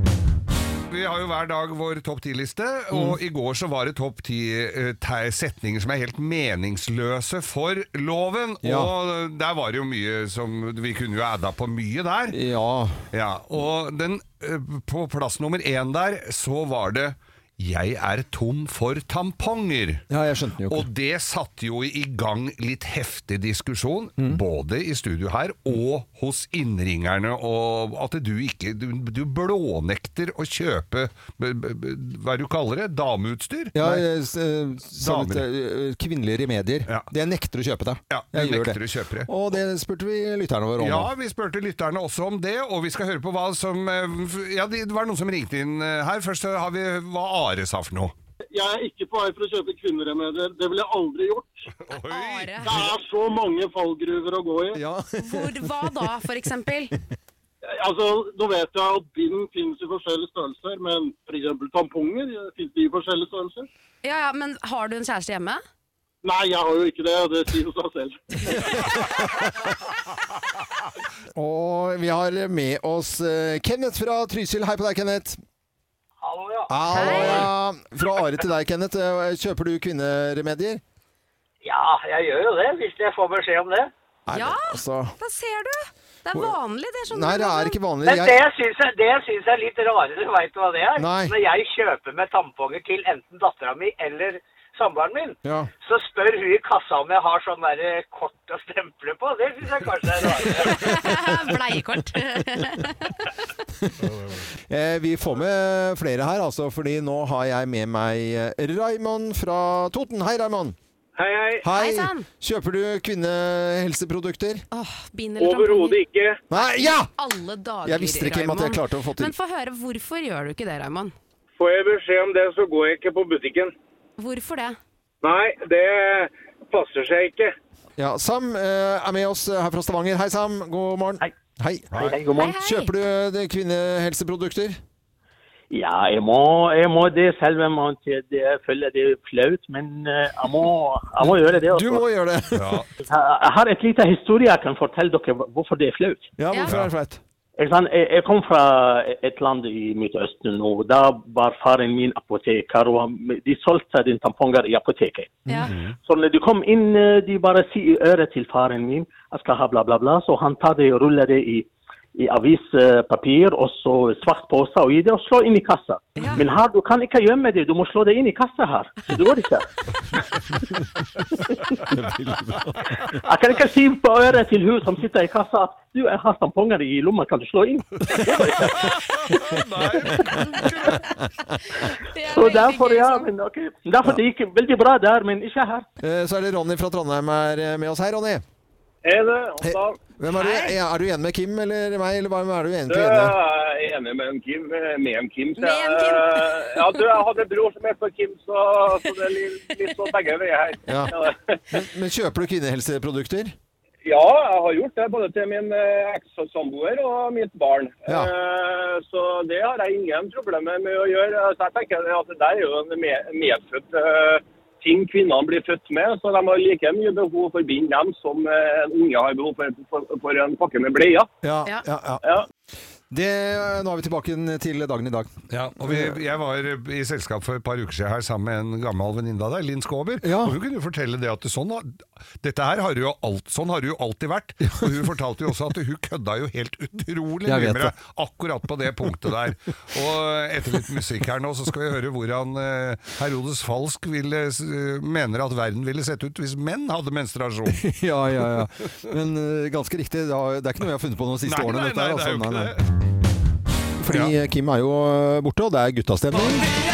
S2: Vi har jo hver dag vår topp ti-liste,
S1: Mm.
S2: og i går så var det topp ti eh, te- setninger som er helt meningsløse for loven.
S1: Ja.
S2: Og eh, der var det jo mye som Vi kunne jo adda på mye der.
S1: Ja.
S2: Ja, og den, eh, på plass nummer én der så var det 'Jeg er tom for tamponger'.
S1: ja, jeg skjønte den jo ikke.
S2: Og det satte jo i gang litt heftig diskusjon,
S1: Mm.
S2: både i studio her og hos innringerne, og at du ikke Du, du blånekter å kjøpe b, b, b, Hva er det du kaller det? Dameutstyr?
S1: Ja,
S2: Nei.
S1: eh, s- eh, sånn
S2: Damer.
S1: at, eh, kvinnelige remedier.
S2: Ja.
S1: Det nekter å kjøpe deg.
S2: Ja,
S1: jeg
S2: det
S1: gjør
S2: nekter
S1: det.
S2: å kjøpe det.
S1: Og det spurte vi lytterne våre om.
S2: Ja,
S1: da.
S2: vi spurte lytterne også om det, og vi skal høre på hva som eh, f- Ja, det var noen som ringte inn eh, her. Først så har vi hva Are sa for noe.
S4: Jeg er ikke på vei for å kjøpe kvinneremedier. Det ville jeg aldri gjort.
S3: Are.
S4: Det er så mange fallgruver å gå i.
S1: Ja.
S3: Hvor, hva da, for eksempel?
S4: Altså, Nå vet jeg at bind finnes i forskjellige størrelser, men f.eks. tamponger eh, finnes de i forskjellige størrelser?
S3: Ja, ja, men har du en kjæreste hjemme?
S4: Nei, jeg har jo ikke det. og Det sier jo seg selv.
S1: Og vi har med oss eh, Kenneth fra Trysil. Hei på deg, Kenneth.
S5: Hallo, ja.
S1: Hallo, ja. Fra Are til deg, Kenneth. Eh, Kjøper du kvinneremedier?
S5: Ja, jeg gjør jo det, hvis jeg får beskjed om det.
S1: Nei,
S3: Ja.
S1: men altså.
S3: Da ser du! Det er vanlig, det. Sånn
S1: Nei, det er ikke vanlig.
S5: Men det
S1: Jeg,
S5: jeg syns er, det jeg synes er litt rarere, veit du hva det er?
S1: Nei.
S5: Når jeg kjøper med tamponger til enten dattera mi eller samboeren min,
S1: ja.
S5: så spør hun i kassa om jeg har sånn der kort å stemple på. Det syns jeg kanskje er rarere.
S3: [LAUGHS] [LAUGHS] Bleiekort.
S1: [LAUGHS] eh, vi får med flere her, altså, fordi nå har jeg med meg eh, Raymond fra Toten. Hei, Raymond.
S5: Hei, hei.
S1: Hei.
S3: Hei sann.
S1: Kjøper du kvinnehelseprodukter?
S3: Åh, bind eller tamponger.
S5: ikke.
S1: Nei, ja!
S3: Alle dager,
S1: Jeg visste ikke at jeg
S3: Raymond.
S1: klarte å få til
S3: Men få høre, hvorfor gjør du ikke det, Raymond?
S5: Får jeg beskjed om det, så går jeg ikke på butikken.
S3: Hvorfor det?
S5: Nei, det passer seg ikke.
S1: ja, Sam eh, er med oss eh, her fra Stavanger. Hei, Sam. God morgen. Hei.
S2: Hei, hei,
S3: Hei, hei.
S1: Kjøper du eh, de kvinnehelseprodukter?
S6: Ja, jeg må, jeg må det selv om man til- det føler det er flaut, men eh, jeg må, jeg må gjøre det.
S1: Du
S6: Også.
S1: må gjøre det. [LAUGHS]
S2: Ja.
S6: Jeg jeg har et lite historie jeg kan fortelle dere hvorfor det er flaut.
S1: Ja, hvorfor er det flaut?
S6: Ikke sant? Jeg, jeg kom fra et land i Midtøsten, og da var faren min apoteker, og han- de solgte den tamponger i apoteket.
S3: Ja.
S1: Mhm.
S6: Så når de kom inn, eh, de bare sier i øret til faren min jeg skal ha bla, bla, bla. Så han tar det, ruller det i, i avispapir og så svart pose og i det, og slår inn i kassa.
S3: Ja.
S6: Men her, du kan ikke gjemme det, du må slå det inn i kassa her. Det går
S3: [LAUGHS]
S6: ikke. jeg kan ikke si på øret til hun som sitter i kassa at du, jeg har tamponger i lomma, kan du slå inn?
S3: Det er
S6: Så
S3: veldig
S6: derfor,
S3: gøy,
S6: ja,
S3: Sam.
S6: men ok. Derfor det gikk veldig bra der, men ikke her.
S1: Eh, Så er det Ronny fra Trondheim er eh, med oss. Hei, Ronny.
S5: Er det?
S1: Hei.
S5: Da,
S1: Hvem er, du, er du enig med Kim eller meg, eller hvem er du egentlig
S5: jeg
S1: enig med?
S5: er enig med en Kim. Med en Kim, så jeg,
S3: Med en Kim.
S5: eh, Ja, du, jeg hadde en bror som het for Kim, så, så det er litt, litt sånn begge veier her.
S1: Ja.
S5: Ja.
S1: Men, men kjøper du kvinnehelseprodukter?
S5: Ja, jeg har gjort det både til min eh, ekssamboer og mitt barn.
S1: Ja.
S5: Eh, Så det har jeg ingen problemer med å gjøre. Eh, Så jeg tenker det at det der er jo en me- medfødt eh, ting kvinnene blir født med. Så de har like mye behov for bind dem som eh, en unge har behov for, for, for en pakke med bleier.
S1: Ja.
S3: Ja.
S1: ja, ja.
S5: Ja.
S1: Det, eh, nå er vi tilbake igjen til dagen i dag.
S2: Ja, og vi, jeg var i selskap for et par uker siden her sammen med en gammel venninne av deg, Linn Skåber. Og hun kunne jo fortelle det at det sånn, dette her har jo alt, sånn har det jo alltid vært. Og hun fortalte jo også at hun kødda jo helt utrolig
S1: Jeg
S2: mye
S1: vet
S2: med
S1: det.
S2: deg akkurat på det punktet der. Og etter litt musikk her nå, så skal vi høre hvordan eh, Herodes Falsk ville, s- mener at verden ville sett ut hvis menn hadde menstruasjon.
S1: [LAUGHS] ja, ja, ja. Men eh, ganske riktig, det har- det er ikke noe jeg har funnet på de siste
S2: Nei,
S1: årene.
S2: nei,
S1: dette her, altså.
S2: nei, det er jo ikke
S1: nei. Fordi eh, Kim er jo eh, borte, og det er guttastemning.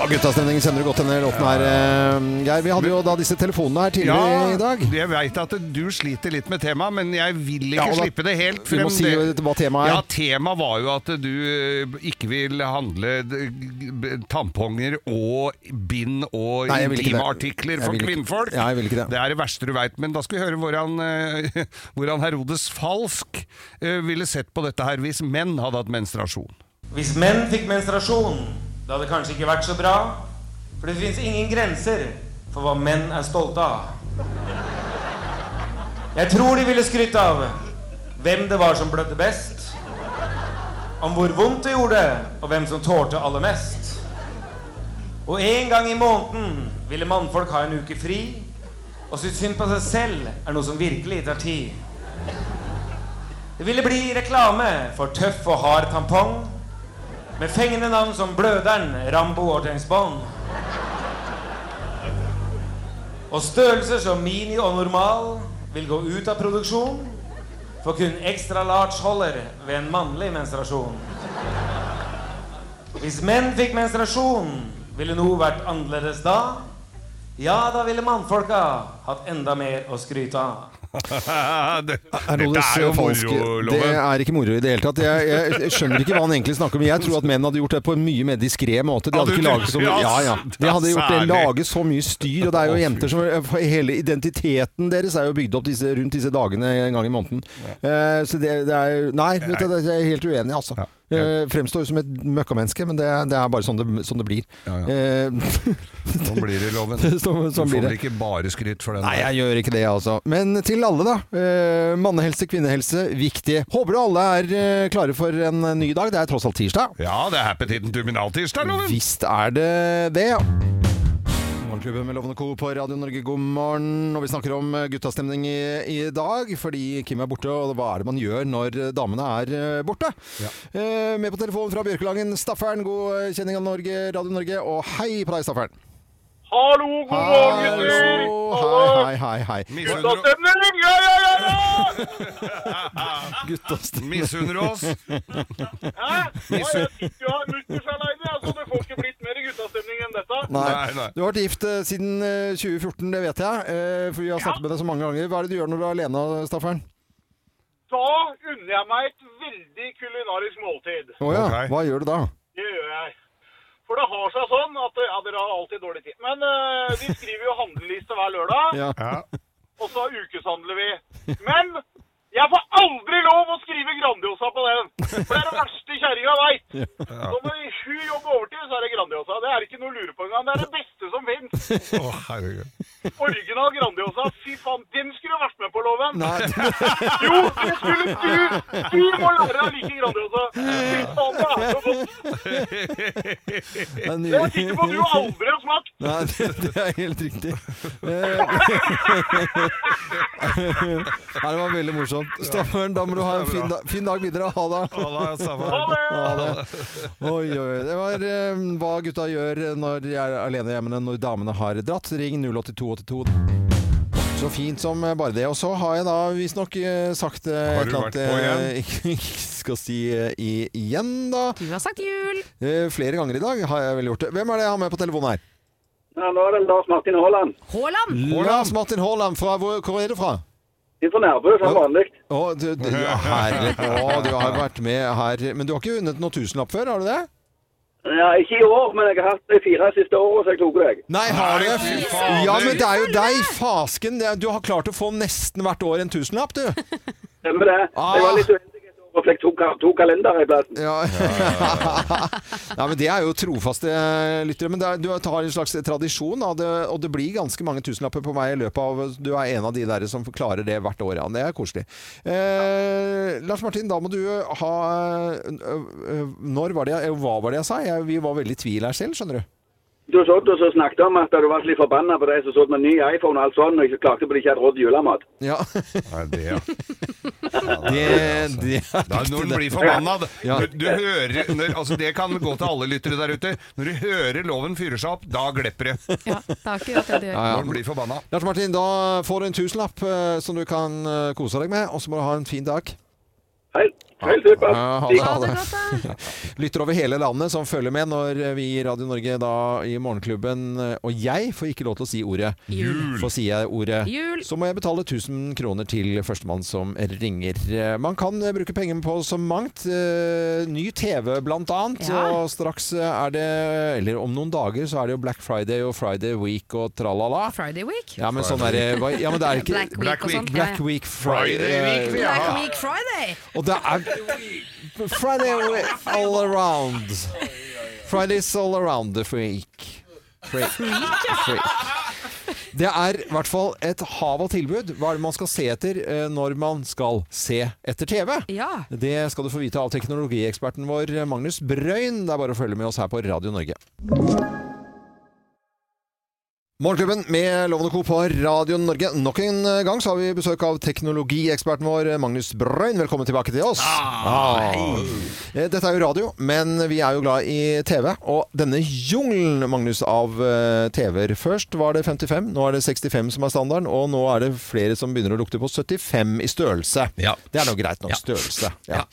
S1: Ja, Guttastemningen kjenner du godt denne låten her, eh, Geir. Vi hadde jo da disse telefonene her tidligere i dag.
S2: Jeg veit at du sliter litt med temaet, men jeg vil ikke
S1: Ja, og da-
S2: slippe det helt
S1: vi
S2: frem.
S1: må si
S2: Det-
S1: jo hva temaet er.
S2: Ja, temaet var jo at du eh, ikke vil handle d- g- b- tamponger og bind og
S1: Nei, jeg vil ikke
S2: intime
S1: det.
S2: artikler
S1: Jeg
S2: for
S1: vil ikke-
S2: kvinnfolk.
S1: Ja, jeg vil ikke det.
S2: Det er det verste du veit. Men da skal vi høre hvordan, eh, [LAUGHS] hvordan Herodes Falsk eh, ville sett på dette her hvis menn hadde hatt menstruasjon.
S9: Hvis menn fikk menstruasjon, det hadde kanskje ikke vært så bra. For det fins ingen grenser for hva menn er stolte av. Jeg tror de ville skryte av hvem det var som blødde best. Om hvor vondt det gjorde, og hvem som tålte aller mest. Og en gang i måneden ville mannfolk ha en uke fri. Og synes synd på seg selv er noe som virkelig tar tid. Det ville bli reklame for tøff og hard tampong. Med fengende navn som Bløderen, Rambo og James Bond. Og størrelser som Mini og Normal vil gå ut av produksjon, for kun Extra Large holder ved en mannlig menstruasjon. Hvis menn fikk menstruasjon, ville noe vært annerledes da? Ja, da ville mannfolka hatt enda mer å skryte av.
S2: det, [LAUGHS]
S1: Herodes
S2: dette er jo
S1: Falsk,
S2: moroloven.
S1: Det er ikke moro i det hele tatt. Jeg, jeg skjønner ikke hva han egentlig snakker om. Jeg tror at menn hadde gjort det på en mye mer diskré måte. De
S2: Ja, du
S1: hadde ikke laget så mye
S2: tror-
S1: Ja, ja.
S2: ja,
S1: De hadde gjort det.
S2: særlig.
S1: Laget så mye styr. Og det er jo jenter som Hele identiteten deres er jo bygd opp disse, rundt disse dagene en gang i måneden. Eh, så det, det er Nei, vet du, jeg er helt uenig, altså. Eh, fremstår jo som et møkkamenneske, men det, det er bare sånn det, sånn det blir. Eh, [LAUGHS]
S2: Sånn blir det, Loven.
S1: Sånn- sånn
S2: du får
S1: blir
S2: vel
S1: [LAUGHS] det.
S2: ikke bare skryt for den.
S1: Nei,
S2: der.
S1: jeg gjør ikke det, altså. Men til alle, da. Eh, mannehelse, kvinnehelse, viktig. Håper du alle er eh, klare for en ny dag. Det er tross alt tirsdag.
S2: Ja, det er appetitten terminal-tirsdag, Loven.
S1: Visst er det det. Morgenklubben med Lovende Co. på Radio Norge, god morgen. Og vi snakker om eh, guttastemning i, i dag, fordi Kim er borte. Og hva er det man gjør når eh, damene er eh, borte? Eh, med på telefonen fra Bjørkelangen, Staffern, god eh, kjenning av Norge, Radio Norge. Og hei på deg, Staffern.
S10: Hallo, god morgen, gutter!
S1: Hei, hei, hei.
S3: sånn.
S1: hei.
S10: Guttastemning! Ja, ja, ja!
S1: [LAUGHS]
S10: ja!
S1: Guttastemning.
S2: Misunner du oss?
S10: Hæ? Ja, jeg sitter jo her mutters aleine, altså. Det får ikke blitt mer guttastemning enn dette.
S1: Nei. Du har vært gift eh, siden eh, 2014, det vet jeg. eh, For vi har snakket med deg så mange ganger. Hva er det du gjør når du er alene, Staffern?
S10: Da unner jeg meg et veldig kulinarisk måltid.
S1: Å ja. Hva gjør du da?
S10: Det gjør jeg. For det har seg sånn at Ja, dere har alltid dårlig tid. Men eh, vi skriver jo handleliste hver lørdag, og så ukeshandler vi. Men jeg får aldri lov å skrive Grandiosa på den! For det er det verste kjerringa veit!
S2: Ja.
S10: Så når hun jobber overtid, så er det Grandiosa. Det er ikke noe å lure på engang. Det er det beste som fins.
S4: [LAUGHS]
S2: Å, herregud.
S10: Original Grandiosa. Fy faen, den skulle vært med på loven!
S1: Nei.
S10: [LAUGHS] Jo, det skulle du! Du må lære deg å like Grandiosa. Fy faen, det er så
S2: [LAUGHS]
S10: godt.
S1: Det er
S10: Det er jeg sikker på at du aldri har smakt.
S1: Nei, det, det er helt
S2: [LAUGHS]
S1: riktig. Eh, Nei, det var veldig morsomt. Staffern, da må du ha en fin, da, fin dag videre. Ha det.
S2: Ha det, Staffern.
S1: Ha det. Oi, oi, oi. Det var eh, hva gutta gjør når de er alene hjemme når damene har dratt. Ring 08282. Så fint som bare det. Og så har jeg da visstnok eh, sagt eh,
S2: Har
S1: et
S2: du
S1: eller
S2: vært
S1: annet
S2: på igjen?
S1: eh, jeg [LAUGHS] ikke skal si eh, i, igjen, da.
S3: Du har sagt jul!
S1: Eh, Flere ganger i dag har jeg vel gjort det. Hvem er det jeg har med på telefonen her?
S11: Ja, nå er det Lars Martin Haaland.
S3: Haaland!
S1: Lars Martin Haaland, fra hvor, hvor er du fra?
S11: Vi får Nærbø som vanlig.
S1: Å, du, du, ja, herre, å, du har vært med her Men du har ikke vunnet noen tusenlapp før, har du det?
S11: Ja, ikke i år, men jeg har hatt de fire siste årene, så jeg tok deg.
S1: Nei, har du
S11: fy
S1: det?
S11: fader.
S1: Ja, men det er jo deg, fasken. Det er- Du har klart å få nesten hvert år en tusenlapp, du.
S11: Stemmer det. Jeg var litt uheldig et år og fikk to, ka- to kalendere i plassen.
S1: Ah. Ja. Nei, men Det er jo trofaste eh, lyttere. Men det er, du har en slags tradisjon, da, det, og det blir ganske mange tusenlapper på meg i løpet av Du er en av de der som klarer det hvert år. Ja. Det er koselig. Eh, Lars Martin, da må du ha ø, ø, Når var det jeg- eh, Hva var det jeg sa? Jeg, vi var veldig i tvil her selv, skjønner du.
S11: Du satt og så snakket om at du var litt forbanna på de som satt med ny iPhone og alt sånn, og ikke klarte på at de ikke hadde råd til julemat.
S1: Ja.
S2: det, ja.
S1: Det, det
S2: Da, når den blir forbanna da- når du hører, når, altså Det kan gå til alle lyttere der ute. Når du hører loven fyrer seg opp, da glepper det.
S3: Det er akkurat det du gjør.
S1: Ja, ja.
S2: Når den blir forbanna.
S1: [LAUGHS] Lars Martin, da får du en tusenlapp eh, som du kan eh, kose deg med, og så må du ha en fin dag.
S11: Helt supert.
S1: Ja, ha det, ha det. [LAUGHS] Lytter over hele landet som følger med når vi i Radio Norge da i Morgenklubben eh, Og jeg får ikke lov til å si ordet.
S2: Jul.
S1: For sier jeg ordet,
S2: Jul.
S1: så må jeg betale 1000 kroner til førstemann som ringer. Eh, Man kan eh, bruke penger på så mangt. eh, Ny TV blant annet.
S2: Ja.
S1: Og straks eh, er det Eller om noen dager så er det jo Black Friday og Friday Week og tralala.
S3: Friday Week?
S1: Ja, men sånn er det hva- Ja, men det er ikke
S3: Black Week og sånn.
S1: Black Week Friday.
S2: Friday Week,
S3: Black Week Friday!
S1: Og det er Friday all around. Fridays all around the freak. Freak. Det er i hvert fall et hav av tilbud. Hva er det man skal se etter eh, når man skal se etter TV? Det skal du få vite av teknologieksperten vår Magnus Brøyn. Det er bare å følge med oss her på Radio Norge. Morgenklubben med Lovende Co. på Radio Norge. Nok en gang så har vi besøk av teknologieksperten vår Magnus Brøyn. Velkommen tilbake til oss.
S2: Ah, hei.
S1: Eh, Dette er jo radio, men vi er jo glad i TV. Og denne jungelen, Magnus, av eh, TV-er. Først var det 55, nå er det 65 som er standarden, og nå er det flere som begynner å lukte på 75 i størrelse. Det er nå greit nok. Størrelse. Ja.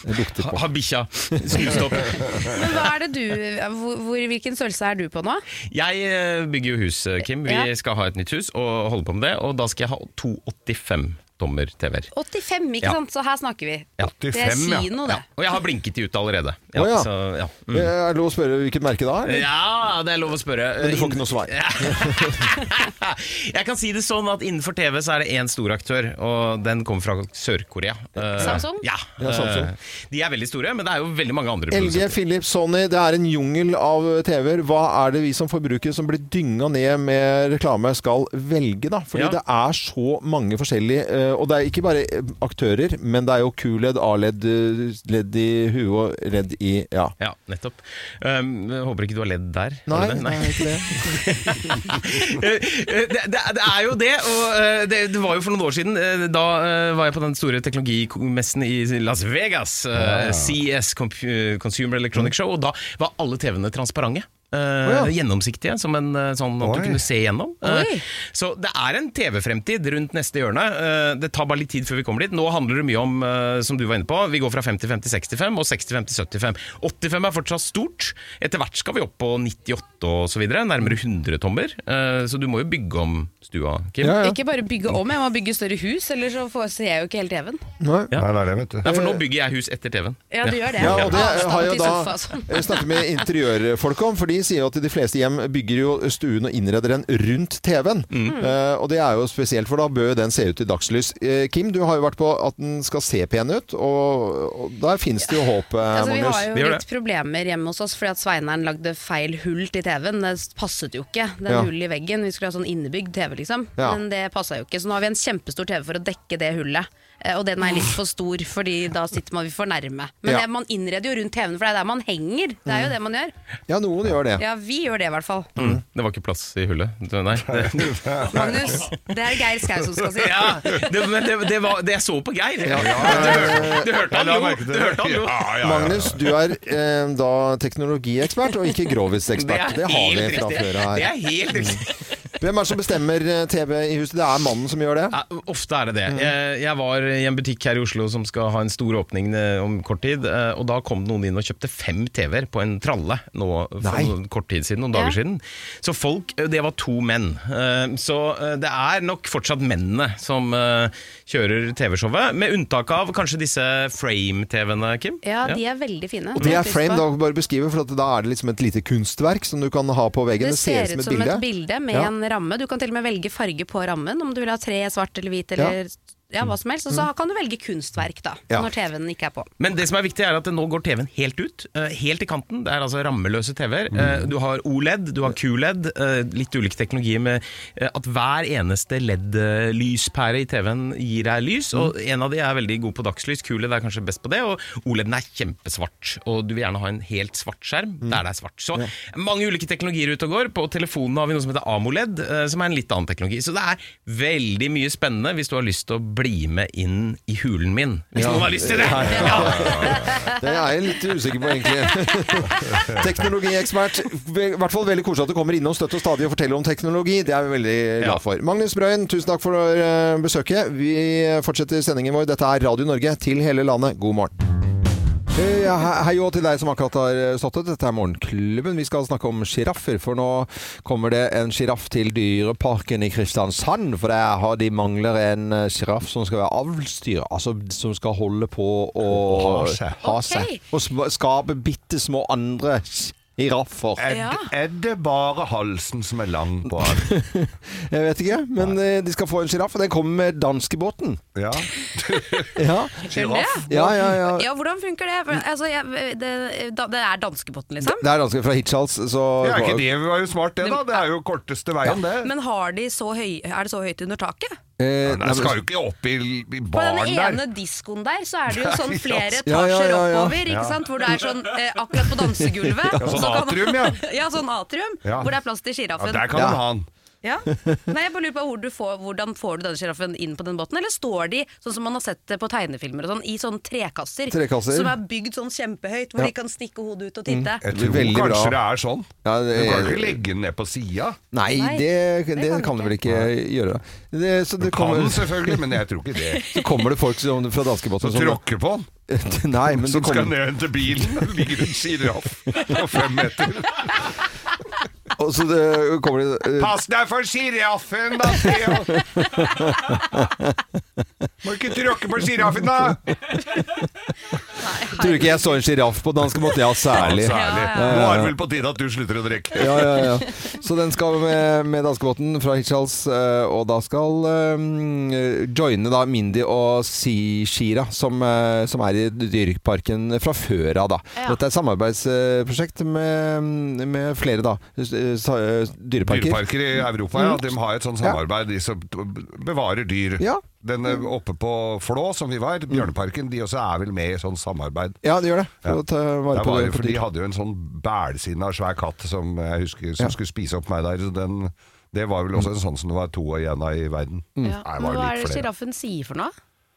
S1: Det Lukter på.
S12: Har bikkja snust opp.
S3: Men hva er det du, hvor, hvor, hvilken størrelse er du på nå?
S12: Jeg eh, bygger jo hus, eh, Kim. Vi
S3: Ja.
S12: skal ha et nytt hus og holder på med det. Og da skal jeg ha to 85 tommer TV-er.
S3: 85, ikke
S12: Ja.
S3: sant? Så her snakker vi.
S12: Ja.
S3: Det er kino, det.
S12: Og jeg har blinket de ut allerede.
S1: Å ja.
S12: Så, ja.
S1: Eh,
S12: Mm.
S1: Er det lov å spørre hvilket merke da? eller?
S12: Ja, det er lov å spørre.
S1: Men du får ikke noe svar.
S12: [LAUGHS] Jeg kan si det sånn at innenfor TV så er det én stor aktør, og den kommer fra Sør-Korea. Eh,
S1: Samsung?
S12: Ja.
S1: Ja, Samsung.
S12: eh, De er veldig store, men det er jo veldig mange andre.
S1: LG, Philips, Sony, det er en jungel av TV-er. Hva er det vi som forbrukere som blir dynga ned med reklame, skal velge, da? Fordi
S12: Ja.
S1: det er så mange forskjellige eh, Og det er ikke bare eh, aktører, men det er jo QLED, A-led, eh, ledd i huet og ledd i Ja.
S12: Ja, nettopp. Um, jeg håper ikke du har ledd der.
S1: Nei,
S12: har du det?
S1: nei, ikke det.
S12: [LAUGHS] Eh, det, det, det er jo det, og eh, det, det var jo for noen år siden. eh, Da eh, var jeg på den store teknologimessen i Las Vegas. eh,
S2: Ja.
S12: CES, Compu- eh, Consumer Electronic Show, og da var alle TV-ene transparente. eh,
S2: Å, ja.
S12: Gjennomsiktige, som en eh, sånn at
S2: Oi.
S12: du kunne se igjennom. Eh,
S2: Oi.
S12: Så det er en TV-fremtid rundt neste hjørne. Eh, Det tar bare litt tid før vi kommer dit. Nå handler det mye om, eh, som du var inne på, vi går fra 50-50 65 og 60-50-75. 85 er fortsatt stort. Etter hvert skal vi opp på 98 og så videre. Nærmere 100 tommer. Eh, Så du må jo bygge om stua, Kim.
S3: Ikke bare bygge om, jeg må bygge større hus, eller så får, ser jeg jo ikke hele TV-en.
S1: Nei.
S2: det er det, vet du.
S12: Ja, for nå bygger jeg hus etter TV-en.
S3: Ja, du gjør det.
S1: Ja, og det
S3: Avstand
S1: Eh, har jeg
S3: til
S1: da
S3: sofa og sånn.
S1: jeg snakket med interiørfolk om, for de sier jo at de fleste hjem bygger jo stuen og innreder den rundt TV-en.
S12: Mm.
S3: Mm.
S1: Eh, og det er jo spesielt, for da bør jo den se ut i dagslys. Eh, Kim, du har jo vært på at den skal se pen ut, og, og der finnes det jo håp, eh,
S3: Altså, vi
S1: Magnus.
S3: har jo litt problemer hjemme hos oss fordi at Sveineren lagde feil hull til TV-en. Det passet jo ikke, den
S1: Ja.
S3: hullet i veggen. Vi skulle ha sånn innebygd TV, liksom.
S1: Ja.
S3: Men det passa jo ikke. Så nå har vi en kjempestor TV for å dekke det hullet. Eh, Og den er litt for stor, fordi da sitter man vi for nærme. Men
S1: Ja. Mm.
S3: det, man innreder jo rundt TV-en, for det er der man henger. Det er jo det man gjør.
S1: Ja, noen gjør det.
S3: Ja, vi gjør det i hvert fall.
S12: Mm. Det var ikke plass i hullet.
S1: [LAUGHS]
S12: Nei. det-
S3: Magnus, det er Geir Skau som skal si det.
S12: Ja, det, men det, det, var, det jeg så på Geir.
S1: Ja.
S12: Du, hørte, du hørte han
S2: Ja, la
S12: lo.
S2: merke til
S12: Du
S2: det.
S12: hørte han lo.
S1: Magnus, du er eh, da teknologiekspert og ikke grovisekspert. Det, har vi fra før av
S12: Det
S1: her.
S12: er helt riktig.
S1: Hvem er det som bestemmer eh, TV i huset? Det er mannen som gjør det?
S12: Ja, ofte er det det. Jeg, jeg var i en butikk her i Oslo som skal ha en stor åpning eh, om kort tid, eh, og da kom det noen inn og kjøpte fem TV-er på en tralle nå for
S1: Nei.
S12: noen kort tid siden, noen dager
S1: Ja.
S12: siden. Så folk, eh, det var to menn. Eh, Så eh, det er nok fortsatt mennene som eh, kjører TV-showet, med unntak av kanskje disse frame-TV-ene, Kim?
S3: Ja, de er veldig fine.
S1: Og det er
S3: Pris på.
S1: frame, da bare beskrive, for at da er det liksom et lite kunstverk som du kan ha på veggen.
S3: Det ser ut som et bilde med
S1: Ja.
S3: en ramme. Du kan til og med velge farge på rammen, om du vil ha tre, svart eller hvit eller ja, hva som helst. Og så kan du velge kunstverk, da,
S12: Ja.
S3: når TV-en ikke er på.
S12: Men det som er viktig er at nå går TV-en helt ut, eh, helt i kanten. Det er altså rammeløse TV-er. Eh, Du har OLED, du har QLED, eh, litt ulike teknologier med eh, at hver eneste LED-lyspære i TV-en gir deg lys, og en av de er veldig god på dagslys. QLED er kanskje best på det, og OLED-en er kjempesvart, og du vil gjerne ha en helt svart skjerm der det er svart. Så mange ulike teknologier ute og går. På telefonen har vi noe som heter AMOLED, eh, som er en litt annen teknologi. Så det er veldig mye spennende hvis du har lyst til å bli med inn i hulen min, hvis
S1: Ja.
S12: noen har lyst til det.
S1: Ja, [LAUGHS] ja,
S12: Ja.
S1: Det er jeg litt usikker på, egentlig. [LAUGHS] Teknologiekspert. I hvert fall veldig koselig at du kommer innom støtt og stadig og forteller om teknologi. Det er vi veldig glad for. Magnus Brøyen, tusen takk for eh, besøket. Vi fortsetter sendingen vår. Dette er Radio Norge til hele landet. God morgen. Eh, Ja, he- hei og til deg som akkurat har eh, stått opp. Dette er Morgenklubben. Vi skal snakke om sjiraffer, for nå kommer det en sjiraff til Dyreparken i Kristiansand. For der har de mangler en eh, sjiraff som skal være avlsdyr, altså som skal holde på å
S2: Ha seg.
S1: ha seg.
S2: Ok.
S1: Og sm- skape bitte små andre sjiraffer.
S2: Er, er det bare halsen som er lang på han?
S1: Jeg vet ikke, men eh, de skal få en sjiraff, og den kommer med danskebåten.
S2: Ja.
S1: [LAUGHS] ja.
S3: Skjønner jeg?
S1: Ja, ja, ja.
S3: ja, hvordan funker det? For, altså, jeg, det, da- det er danskebåten, liksom?
S1: Det er danske fra Hirtshals, så
S2: Det er ikke det vi var jo smart, det da. Det er jo korteste veien, det.
S3: Men har de så høy, er det så høyt under taket?
S1: Eh,
S2: Den skal jo ikke opp i, i
S3: På den
S2: baren
S3: ene
S2: der.
S3: diskoen der så er det jo
S2: Nei,
S3: sånn flere
S2: altså.
S3: etasjer
S2: Ja, ja, ja, ja.
S3: oppover, ikke
S2: Ja.
S3: sant? Hvor det er sånn eh, akkurat på dansegulvet.
S2: Ja, sånn
S3: så kan-
S2: atrium,
S3: [LAUGHS]
S2: ja.
S3: ja, sånn atrium,
S2: Ja.
S3: hvor det er plass til sjiraffen.
S2: Ja, der kan man ha den.
S3: Ja. Nei, jeg bare lurer på hvor du får, Hvordan får du denne sjiraffen inn på den båten? Eller står de, sånn som man har sett det på tegnefilmer, og sånn, i sånne trekasser,
S1: Trekasser.
S3: som er bygd sånn kjempehøyt, hvor
S1: Ja.
S3: de kan stikke hodet ut og titte?
S2: Mm, Jeg tror
S1: Mm. Veldig bra.
S2: kanskje det er sånn.
S1: Ja, det-
S2: du kan ikke legge den ned på sida.
S1: Nei,
S2: Nei,
S1: det, det, kan du vel ikke gjøre. Det, så det
S2: Kan selvfølgelig, men jeg tror ikke det.
S1: Så kommer det folk som, fra danskebåten
S2: Så tråkker på den.
S1: den? [LAUGHS] Nei, men
S2: Så
S1: det
S2: skal
S1: kommer,
S2: den ned til bilen, og ligger en sjiraff på fem meter.
S1: [LAUGHS] og så det, kommer det eh,
S2: Pass deg for sjiraffen, da, Theo! Må ikke tråkke på sjiraffen, da!
S1: Tror du ikke jeg så en sjiraff på danskebåten? Ja, særlig.
S2: Ja, særlig. Nå er det vel på tide at du slutter å drikke.
S1: Ja, ja, ja. Så den skal med, med danskebåten fra Hirtshals, eh, og da skal eh, joine da Mindy og Si Shira, som, eh, som er i Dyreparken fra før av. da. Dette er et samarbeidsprosjekt med, med flere da, s- s- dyreparker.
S2: Dyreparker i Europa, ja. De har et sånt
S1: Mm. Ja.
S2: samarbeid, de som bevarer dyr.
S1: Ja. Mm.
S2: Den eh, oppe på Flå, som vi var, Bjørneparken, de også er vel med i sånn samarbeid.
S1: Ja, det gjør det. For
S2: Ja.
S1: å ta
S2: Det
S1: vare på,
S2: var jo
S1: på
S2: for
S1: dyr.
S2: De hadde jo en sånn bælsinna svær katt som jeg husker som
S1: Ja.
S2: skulle spise opp meg der. Så den, det var vel også en sånn som det var to igjen av i verden.
S1: Mm.
S3: Ja.
S2: Nei, det
S3: Men
S2: var
S3: hva er
S2: litt
S3: det
S2: flere.
S3: sjiraffen sier for noe?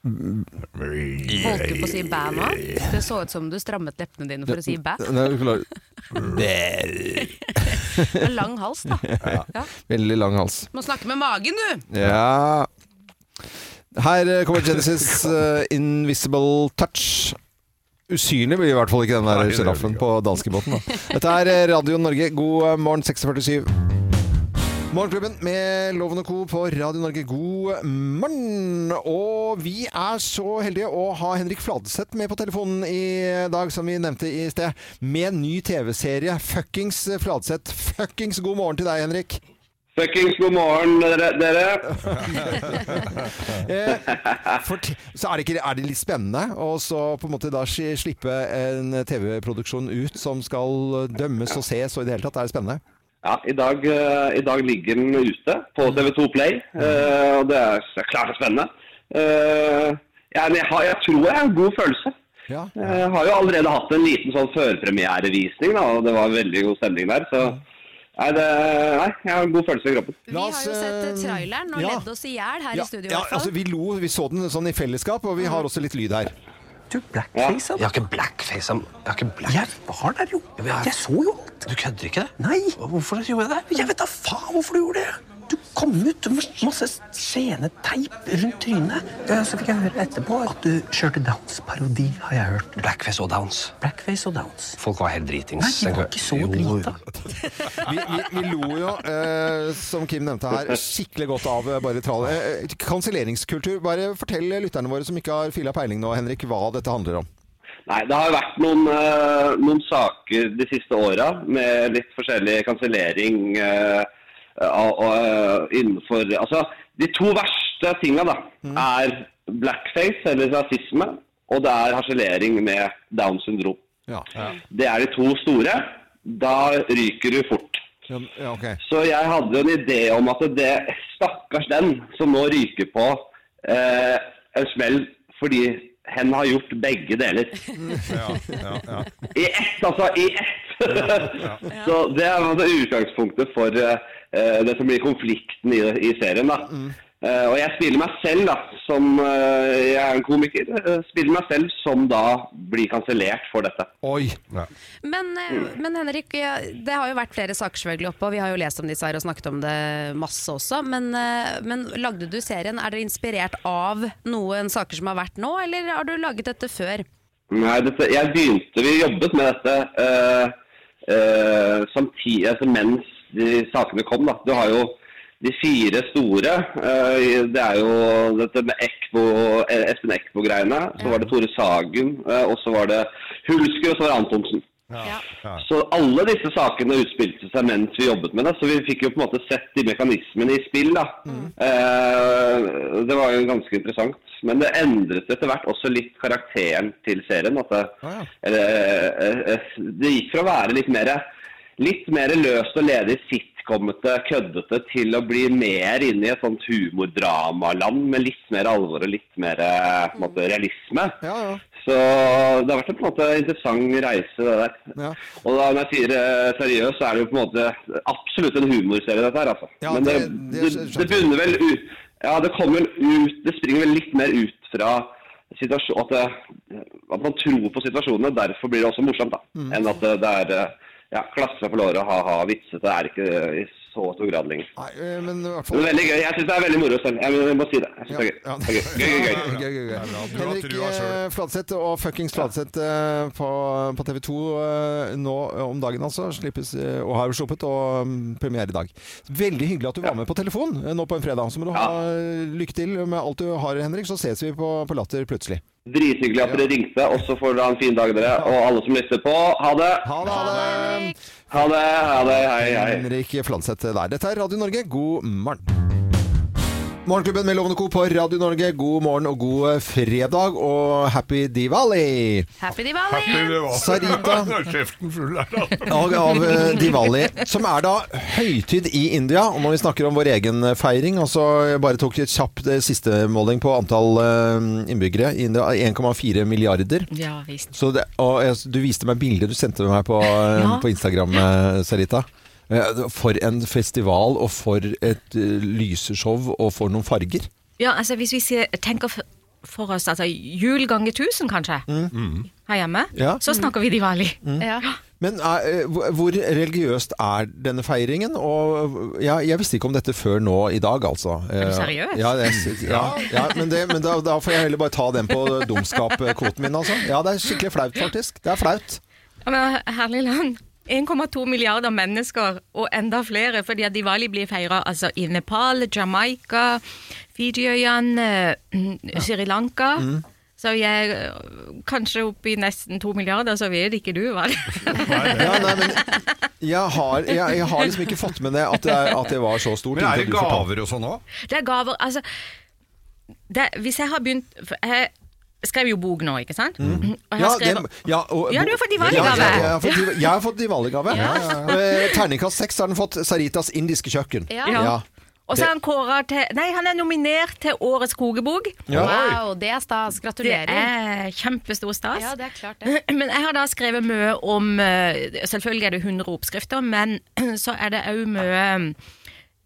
S3: Holdt du på å si
S2: Holdt
S3: bæ nå? Det så ut som du strammet leppene dine for å si bæ.
S1: Nei, du klarer-
S3: [LAUGHS] Med lang hals, da. Ja.
S1: Veldig lang hals.
S3: Må snakke med magen, du!
S1: Ja Her eh, kommer Genesis eh, Invisible Touch. Usynlig blir i hvert fall ikke den der sjiraffen på danskebåten. da. Dette er eh, Radio Norge. God eh, morgen 647. Morgenklubben med Eh, Loven og Co. på Radio Norge, god eh, morgen! Og vi er så heldige å ha Henrik Fladseth med på telefonen i dag, som vi nevnte i sted. Med ny TV-serie. Fuckings eh, Fladseth. Fuckings god morgen til deg, Henrik.
S11: Fuckings god morgen, dere.
S1: [LAUGHS]
S11: dere.
S1: Eh, fort- så er det, ikke, er det litt spennende å så på en måte da sli- slippe en TV-produksjon ut som skal dømmes og ses, og i det hele tatt er det spennende?
S11: Ja, i dag, eh, I dag ligger den ute på TV2 Play, eh, og det er så klart det er spennende. Eh, jeg, jeg, har, jeg tror jeg har en god følelse.
S1: Ja.
S11: Jeg har jo allerede hatt en liten sånn førpremierevisning, da, og det var veldig god stemning der. Så nei, det, nei, jeg har en god følelse i kroppen.
S3: Vi har jo sett traileren og
S1: ja.
S3: ledd oss i hjel her
S1: Ja,
S3: i studio. i
S1: ja,
S3: hvert fall.
S1: altså Vi lo, vi så den sånn i fellesskap, og vi har også litt lyd her. Du
S13: blackface Jeg har ikke blackface ham. Jeg har ikke black... Jeg var der jo. Jeg, så jo alt. Du kødder ikke det? Nei. Hvorfor gjorde jeg det? Jeg vet da faen hvorfor du gjorde det. Du kom ut med masse sceneteip rundt trynet. Ja, Så fikk jeg høre etterpå at du kjørte Downs-parodi, har jeg hørt. Blackface og Downs. Blackface og Downs. Folk var helt dritings. Nei, de var ikke så drita.
S1: Vi, vi, vi lo jo, eh, som Kim nevnte her, skikkelig godt av eh, bare trall. Eh, kanselleringskultur. Bare fortell lytterne våre som ikke har fila peiling nå, Henrik, hva dette handler om.
S11: Nei, det har jo vært noen, eh, noen saker de siste åra med litt forskjellig kansellering eh, av- av, eh, innenfor Altså, de to verste tinga da, er blackface, eller rasisme, og det er harselering med Downs syndrom. Det er de to store. Da ryker du fort.
S1: Ja, ja, ok.
S11: Så jeg hadde en idé om at det stakkars den som nå ryker på eh, en smell fordi hen har gjort begge deler. I ett, altså! I ett! [LAUGHS] Så det er altså utgangspunktet for eh, eh, det som blir konflikten i, i serien. da. Eh, og jeg spiller meg selv da, som eh, Jeg er en komiker. eh, spiller meg selv som da blir kansellert for dette.
S1: Oi!
S3: Men, eh, men Henrik, ja, det har jo vært flere saker selvfølgelig oppe, og vi har jo lest om disse her og snakket om det masse også. Men, eh, men lagde du serien, er dere inspirert av noen saker som har vært nå, eller har du laget dette før?
S11: Nei, dette, jeg begynte, vi jobbet med dette eh, eh, samtidig, altså mens de sakene kom. Da. Du har jo de fire store. eh, i- det er jo dette med Ekbo, eh, Espen Eckbo-greiene. Så var det Tore Sagen, eh, og så var det Hulsker, og så var det Antonsen. Så alle disse sakene utspilte seg mens vi jobbet med det, så vi fikk jo på en måte sett de mekanismene i spill. da.
S6: 음.
S11: Eh, det var jo ganske interessant. Men det endret etter hvert også litt karakteren til serien. At det, eller, eh, eh, det gikk fra å være litt mer, litt mer løst og ledig sitcomete, køddete, til å bli mer inne i et sånt humordramaland med litt mer alvor og litt mer eh, på en
S1: Mm.
S11: måte, realisme. Så det har vært en på en måte interessant reise, det der. Og da, når jeg sier eh, seriøs, så er det jo på en måte absolutt en humorserie, dette her, altså.
S1: Ja,
S11: Men det,
S1: det-
S6: 네,
S11: det,
S1: det skjønte
S11: det bunner vel ut Ja, det kommer vel ut Det springer vel litt mer ut fra situasjon... At, det, at man tror på situasjonene. Derfor blir det også morsomt, da.
S1: Mm.
S11: Enn at det, det er eh, ja, klasse seg på låret, ha-ha, vitsete. Det er ikke eh, i så stor grad lenger.
S1: Nei, eh, men i hvert
S11: Men
S1: fall
S11: det er veldig gøy. Jeg syns det er veldig moro selv. Jeg må- Jeg må si det. Jeg synes det er gøy.
S1: Ja, ja.
S11: Det er
S1: [LAUGHS]
S11: gøy. Gøy, gøy, gøy.
S1: Gøy, gøy, gøy.
S2: Du har
S1: Henrik
S2: trua selv.
S1: eh, Fladseth og fuckings Fladseth eh, på, på TV 2 eh, nå eh, om dagen, altså. Slippes, eh, og har jo sluppet, og mm, premiere i dag. Veldig hyggelig at du var med på telefon eh, nå på en fredag. Så må du ha lykke til med alt du har, Henrik. Så ses vi på, på Latter plutselig.
S11: Drithyggelig at dere ringte, og så får dere ha en fin dag, dere. Og alle som lytter på, ha det! Ha
S1: det, ha
S11: det! Ha det, Hei, hei.
S1: Henrik Fladseth der. Dette er Radio Norge, god morgen. Morgenklubben med Lovende Co. på Radio Norge, god morgen og god eh, fredag, og happy Diwali!
S3: Happy Diwali!
S1: Sarita.
S2: [LAUGHS] Nå er kjeften full her, da.
S1: dag av eh, Diwali, som er da høytid i India. Og når vi snakker om vår egen eh, feiring, og så bare tok jeg kjapt eh, siste måling på antall eh, innbyggere i India, 1,4 milliarder.
S14: Ja visst.
S1: Så det, og jeg, du viste meg bilder du sendte meg på, eh,
S14: Ja.
S1: på Instagram, eh, Sarita. Eh, For en festival, og for et eh, lyseshow, og for noen farger.
S14: Ja, altså hvis vi ser, tenker f- for oss altså, jul ganger tusen kanskje
S2: Mm.
S14: her hjemme,
S1: Ja.
S14: så snakker vi Diwali.
S1: Men er, eh, hvor- hvor religiøst er denne feiringen? Og ja, jeg visste ikke om dette før nå i dag, altså.
S14: Er du seriøs?
S1: Ja, det, ja, ja men, det, men da, da får jeg heller bare ta den på dumskapkvoten min, altså. Ja, det er skikkelig flaut, faktisk. Det er flaut.
S14: Ja, Men eh, herlig land. 1,2 milliarder mennesker, og enda flere, fordi at Diwali blir feira altså, i Nepal, Jamaica, Fijiøyene, eh, Sri Lanka.
S2: Mm.
S14: Så jeg eh, Kanskje oppi nesten to milliarder, så vet ikke du, hva?
S1: Jeg har, jeg, jeg har liksom ikke fått med det at det, er, at det var så stort.
S2: Men er
S1: inntil
S2: det
S1: du fortalte.
S2: gaver og sånn òg?
S14: Det er gaver, altså det, Hvis jeg har begynt for Jeg skrev jo bok nå, ikke sant? Og jeg
S1: Mm. Ja,
S14: har skrevet-
S1: det- ja, og-
S14: Ja, du har fått Diwali-gave.
S1: Ja, jeg, har fått div- jeg har fått Diwali-gave.
S14: Ja.
S1: Eh, Terningkast seks har den fått Saritas indiske kjøkken.
S14: Ja. Og så er han kåret til Nei, han er nominert til Årets kogebok.
S1: Ja.
S3: Wow, det er stas. Gratulerer.
S14: Det er kjempestor stas.
S3: Ja, det er klart det.
S14: [CLEARS THROAT] Men jeg har da skrevet mye om eh, Selvfølgelig er det 100 oppskrifter, men [CLEARS THROAT] så er det òg mye mm,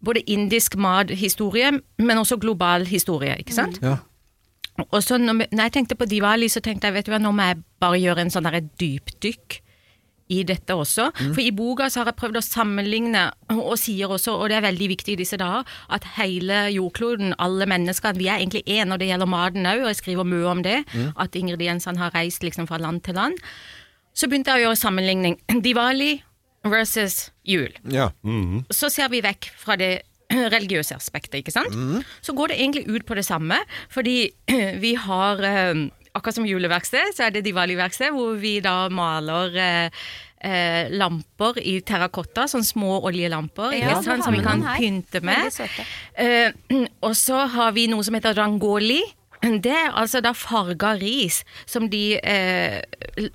S14: både indisk mathistorie, men også global historie, ikke sant?
S1: Ja.
S14: Og så når vi- når jeg tenkte på Diwali, så tenkte jeg vet du hva, nå må jeg bare gjøre en sånn der dypdykk i dette også.
S15: Mm.
S14: For i boka så har jeg prøvd å sammenligne, og sier også, og det er veldig viktig i disse dager, at hele jordkloden, alle menneskene, vi er egentlig én når det gjelder maten òg, og jeg skriver mye om det,
S15: Mm.
S14: at ingrediensene har reist liksom fra land til land. Så begynte jeg å gjøre sammenligning. [CLEARS THROAT] Diwali versus jul
S1: Ja.
S2: Mm-hmm.
S14: så ser vi vekk fra det [CLEARS THROAT] religiøse aspektet, ikke sant? Så går det egentlig ut på det samme, fordi [CLEARS THROAT] vi har eh, Akkurat som juleverksted, så er det Diwali-verksted, hvor vi da maler eh, eh, lamper i terrakotta, sånn små oljelamper,
S15: Ja,
S14: ikke
S15: du
S14: sant,
S15: har
S14: som vi
S15: med
S14: kan
S15: noen her.
S14: pynte med.
S15: Veldig søte.
S14: Eh, og så har vi noe som heter rangoli, Det er altså da farga ris som de eh,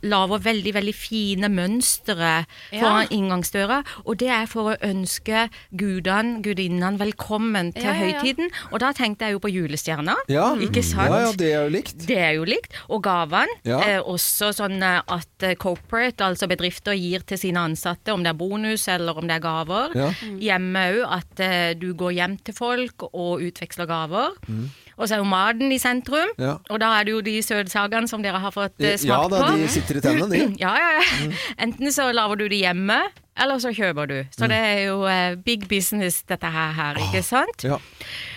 S14: lager veldig veldig fine mønstre foran
S3: Ja.
S14: inngangsdøra. Og det er for å ønske gudene, gudinnene, velkommen til
S3: Ja, ja, ja.
S14: høytiden. Og da tenkte jeg jo på julestjerna.
S1: Ja.
S14: Ikke sant?
S1: Ja, ja, det er jo likt.
S14: Det er jo likt. Og gavene.
S1: Ja.
S14: Eh, også sånn eh, at eh, corporate, altså bedrifter, gir til sine ansatte, om det er bonus eller om det er gaver.
S15: Ja.
S14: Hjemme òg, at eh, du går hjem til folk og utveksler gaver.
S1: Mm.
S14: Og så er jo maten i sentrum,
S1: Ja.
S14: og da er det jo de søtsagene som dere har fått eh,
S1: Ja
S14: smakt
S1: da,
S14: på.
S1: de sitter i tennene,
S14: [CLEARS THROAT]
S1: de. Mm.
S14: ja, ja, ja. Enten så lager du det hjemme, eller så kjøper du. Så
S1: Mm.
S14: det er jo eh, big business dette her, her ikke sant?
S1: Ja.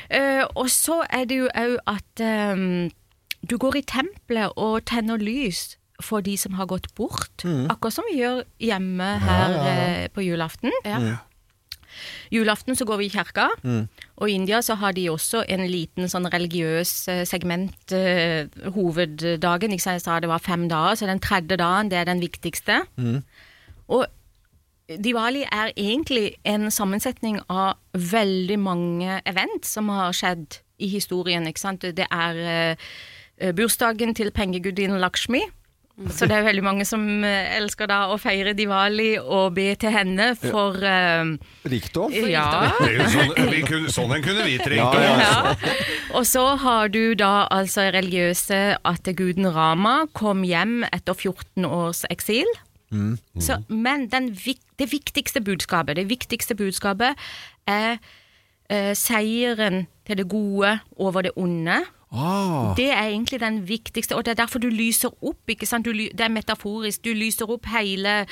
S14: Eh, og så er det jo òg at eh, du går i tempelet og tenner lys for de som har gått bort.
S15: Mm.
S14: Akkurat som vi gjør hjemme her
S15: ja, ja.
S14: eh, på julaften.
S15: Mm.
S14: Julaften så går vi i kirka.
S15: Mm.
S14: Og i India så har de også en liten sånn religiøs eh, segment eh, hoveddagen. Ikke sant? Jeg sa det var fem dager, så den tredje dagen det er den viktigste.
S15: Mm.
S14: Og Diwali er egentlig en sammensetning av veldig mange event som har skjedd i historien. ikke sant? Det er eh, bursdagen til pengegudinnen Lakshmi. Så det er veldig mange som eh, elsker da å feire diwali og be til henne for eh,
S1: Rikdom?
S14: Ja.
S2: Det er jo sånn, vi kunne, sånn en kunne vi trengt.
S1: Ja,
S2: å-
S1: ja,
S14: ja. Og så har du da altså religiøse at guden Rama kom hjem etter 14 års eksil.
S15: Mm.
S14: Så, men den, vik- det viktigste budskapet, det viktigste budskapet er eh, seieren til det gode over det onde. Det er egentlig den viktigste, og det er derfor du lyser opp. ikke sant? Du, ly- det er metaforisk. Du lyser opp hele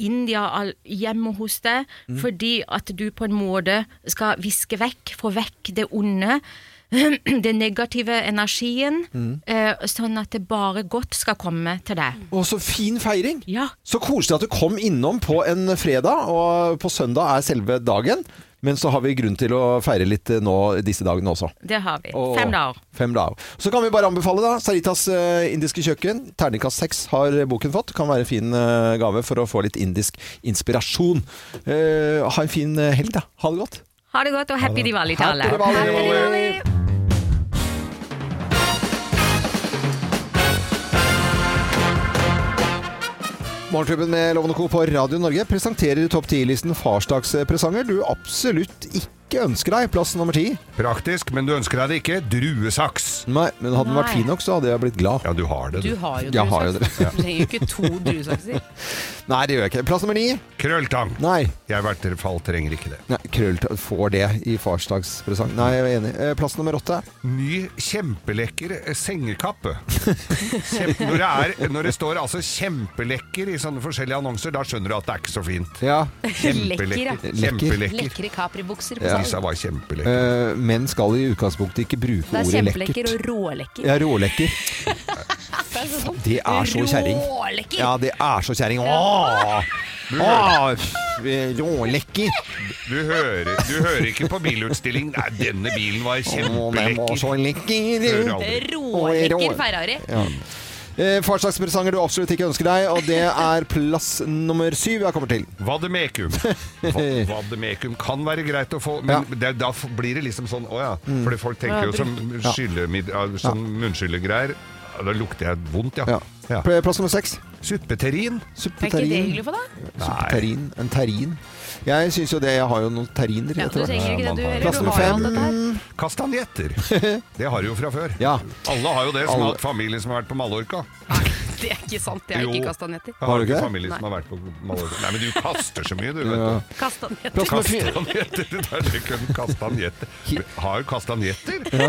S14: India all, hjemme hos deg
S15: Mm.
S14: fordi at du på en måte skal viske vekk, få vekk det onde. [CLEARS THROAT] Den negative energien,
S1: Mm.
S14: eh, sånn at det bare godt skal komme til deg.
S15: Mm.
S1: Å, så fin feiring!
S14: Ja.
S1: Så koselig at du kom innom på en fredag, og på søndag er selve dagen. Men så har vi grunn til å feire litt eh, nå disse dagene også.
S14: Det har vi.
S1: Og-
S14: Fem dager.
S1: Fem dager. Så kan vi bare anbefale da, Saritas eh, indiske kjøkken. Terningkast seks har boken fått. Kan være en fin eh, gave for å få litt indisk inspirasjon. Eh, ha en fin eh, helg, da. Ha det godt.
S14: Ha det godt, og happy diwali til alle.
S1: Happy Diwali. Morgenklubben med Loven og Co. på Radio Norge presenterer Topp 10-listen farsdagspresanger du absolutt ikke ønsker deg. Plass nummer ti.
S2: Praktisk, men du ønsker deg det ikke. Druesaks.
S1: Nei, men hadde den vært
S2: Nei.
S1: fin nok, så hadde jeg blitt glad.
S2: Ja, du har det.
S15: Du har jo
S1: Jeg har jo det.
S15: druesaks. altså. Du trenger jo ikke to druesakser.
S1: [LAUGHS] Nei, det gjør jeg ikke. Plass nummer ni.
S2: Krølltang.
S1: Nei.
S2: Jeg i hvert fall trenger ikke det.
S1: Nei, Krølltang får det i farsdagspresang. Nei, jeg er enig. Eh, Plass nummer åtte.
S2: Ny kjempelekker eh, sengekappe. Kjempe, når, det er, når det står altså 'kjempelekker' i sånne forskjellige annonser, da skjønner du at det er ikke så fint.
S1: Ja.
S2: Kjempelekker. Kjempelekker.
S15: Lekre Capri-bukser på
S1: Ja.
S2: Disse var kjempelekker.
S1: Eh, menn skal i utgangspunktet ikke bruke
S15: Det er
S1: ordet lekkert.
S15: kjempelekker og rålekker.
S1: Ja, rålekker.
S15: [LAUGHS] Det er sånn-
S1: Det er så kjerring.
S15: Rålekker!
S1: Ja, det er så kjerring. Åh! Åh! f- Rålekker.
S2: Du hører, du hører ikke på bilutstilling. Nei, denne bilen var
S1: Den var så
S2: kjempelekker. Hører aldri.
S1: lekker.
S15: Rålekker Ferrari.
S1: Ja. Eh, Farsdagspresanger du absolutt ikke ønsker deg, og det er plass nummer syv jeg kommer til.
S2: Vademekum. Va- Vademekum kan være greit å få, men det, da f- blir det liksom sånn Å ja.
S1: Mm.
S2: Fordi folk tenker jo
S1: Ja,
S2: som
S1: brukt. Ja.
S2: skyllemid- ja, sånn munnskyllegreier. Ja, Da lukter jeg vondt, ja. ja.
S1: Pl- Plass nummer seks.
S2: Suppeterrin.
S3: Er ikke det hyggelig for deg? [LAUGHS]
S1: Suppeterrin. En terrin. Jeg syns jo det. Jeg har jo noen terriner.
S3: Ja,
S1: etter
S3: du
S1: hvert.
S3: trenger ikke det, du heller.
S1: Plass
S3: Du
S1: nummer
S3: har jo
S1: fem.
S3: alt dette
S1: Mm.
S3: her.
S1: [LAUGHS]
S2: Kastanjetter. Det har du jo fra før. Alle har jo det, som
S1: Alle.
S2: har hatt familie som har vært på Mallorca.
S3: Det er ikke sant, jeg har
S2: Jo.
S3: ikke kastanjetter.
S2: Jeg
S1: Har
S2: har
S1: du
S2: ikke
S1: ikke?
S2: familie som har vært på Mallorca. Nei, men du kaster så mye, du. vet
S1: Ja.
S2: du.
S3: Kastanjetter.
S1: Plass nummer fire.
S2: Kastanjetter. Det er det kun kastanjetter. Har jo kastanjetter.
S1: Ja.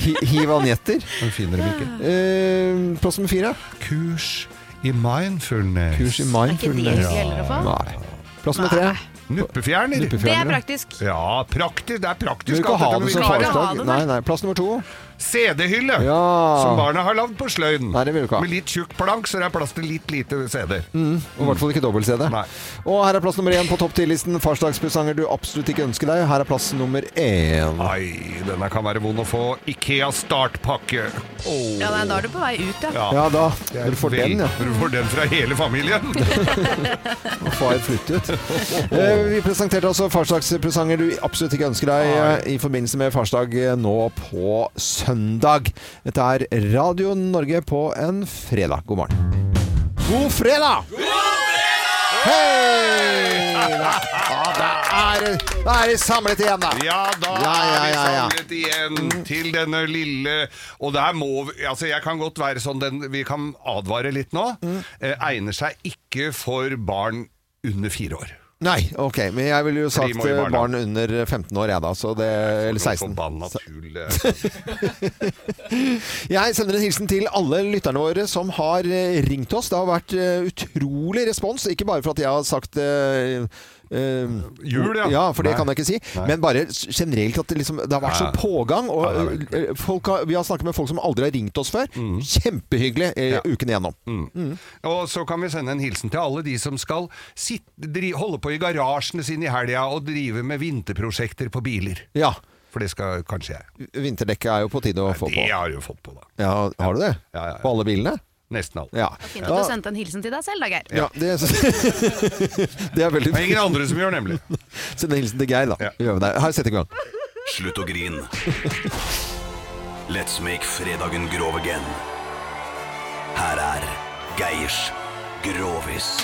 S1: Hi- Hivanjetter.
S2: finner dem ikke.
S1: Eh, plass nummer fire.
S2: Kurs i mindfulness.
S1: Kurs i
S2: Er
S1: mindfulness.
S2: ikke det egentlig heller å få?
S1: Nei. Plass nummer tre.
S2: Nuppefjerner.
S1: Nuppefjerner, Det er ja.
S3: praktisk.
S2: Ja, praktisk. Det er
S1: Du vil
S2: praktisk.
S1: ikke
S2: alt
S1: ha
S2: dette, men
S1: det
S2: vi
S1: som
S2: skal ha det. sånn.
S1: farsdag. Nei, nei. Plass nummer to.
S2: CD-hylle,
S1: Ja.
S2: som barna har lagd på sløyden.
S1: Nei, det vil du ikke ha.
S2: Med litt tjukk plank, så det er plass til litt lite CD-er.
S1: Mm, og i hvert fall ikke dobbelt-CD. Og her er plass nummer én på topp 10-listen. Farsdagspresanger du absolutt ikke ønsker deg. Her er plass nummer én.
S2: Ai, denne kan være vond å få. Ikea startpakke. Åh.
S3: Ja, nei, da er du på vei ut, ja.
S1: Ja da. Du får
S2: Vel,
S1: den, ja.
S2: Du får den fra hele
S1: [LAUGHS]
S2: familien.
S1: Og far flytter ut.
S2: [LAUGHS]
S1: Eh, Vi presenterte altså farsdagspresanger du absolutt ikke ønsker deg eh, i forbindelse med farsdag eh, nå på søndag. søndag. Dette er Radio Norge på en fredag. God morgen. God fredag! Hei! Ja, da er, da er vi samlet igjen, da.
S2: Ja, da
S1: ja, ja, ja,
S2: er
S1: ja.
S2: vi samlet igjen til denne lille Og der må vi Altså, jeg kan godt være sånn den, Vi kan advare litt nå. Eh, egner seg ikke for barn under fire år.
S1: Nei, ok. Men jeg ville jo sagt eh,
S2: Primo i barna.
S1: barn under 15 år, jeg da. Så det, eller 16.
S2: Forbanna tull.
S1: [LAUGHS]
S2: eh.
S1: Jeg sender en hilsen til alle lytterne våre som har eh, ringt oss. Det har vært eh, utrolig respons, ikke bare for at jeg har sagt eh, eh,
S2: Jul, ja.
S1: ja. For det
S2: Nei.
S1: kan jeg ikke si.
S2: Nei.
S1: Men bare s- generelt at det, liksom, det har vært
S2: Ja.
S1: så pågang. Og,
S2: Ja, det har vært Mm.
S1: eh, folk har, vi har snakket med folk som aldri har ringt oss før. Kjempehyggelig eh, uken igjennom.
S2: Og så kan vi sende en hilsen til alle de som skal sitte, dri, holde på i garasjene sine i helga og drive med vinterprosjekter på biler.
S1: Ja.
S2: For det skal kanskje jeg.
S1: Vinterdekket er jo på tide å få på.
S2: Det har du fått på, da.
S1: Ja, har du det? På alle bilene?
S2: Nesten alle.
S1: Ja.
S3: Fint at du sendte en hilsen til deg selv, da, Geir.
S1: Ja, det, [LAUGHS] det er veldig
S2: Det er ingen andre som gjør, nemlig.
S1: [LAUGHS] Send en hilsen til Geir, da. Gjør vi det. Her setter vi i gang.
S16: Slutt å grine. Let's make fredagen grov again. Her er Geirs Grovis.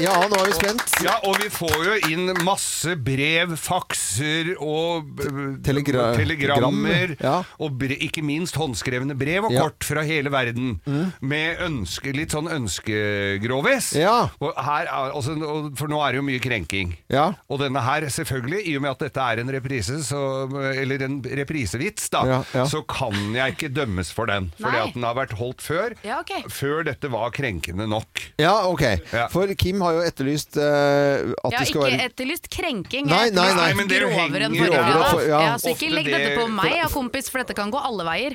S2: Ja.
S1: nå er vi spent.
S2: Ja, og vi får jo inn masse brev, fakser og eh,
S1: telegra-
S2: telegrammer.
S1: gram, ja.
S2: Og bre, ikke minst håndskrevne brev og
S1: Ja. Mm.
S2: kort fra hele verden. Med ønske, litt sånn ønskegrovis. Og her er, altså, og- for nå er det jo mye krenking.
S1: Ja.
S2: Og denne her, selvfølgelig, i og med at dette er en reprise, så, eller en reprisevits, da,
S1: Ja, ja.
S2: så kan jeg ikke dømmes for den. Fordi
S1: Nei.
S2: at den har vært holdt før.
S3: Ja, ok.
S2: Før dette var krenkende nok.
S1: Ja, ok. For Kim har jo etterlyst eh, at
S3: Jeg
S1: det
S3: har
S1: skal
S3: ikke
S1: være
S3: etterlyst krenking.
S1: Nei,
S3: jeg
S1: nei,
S3: har
S1: nei.
S3: etterlyst
S1: Men dere
S3: grovere enn
S1: henger
S3: forrige
S1: over og
S3: fredag.
S1: for-
S3: ja.
S1: ja.
S3: så ikke
S2: Ofte
S3: legg dette
S2: det-
S3: på meg, ja, kompis, for dette kan gå alle veier.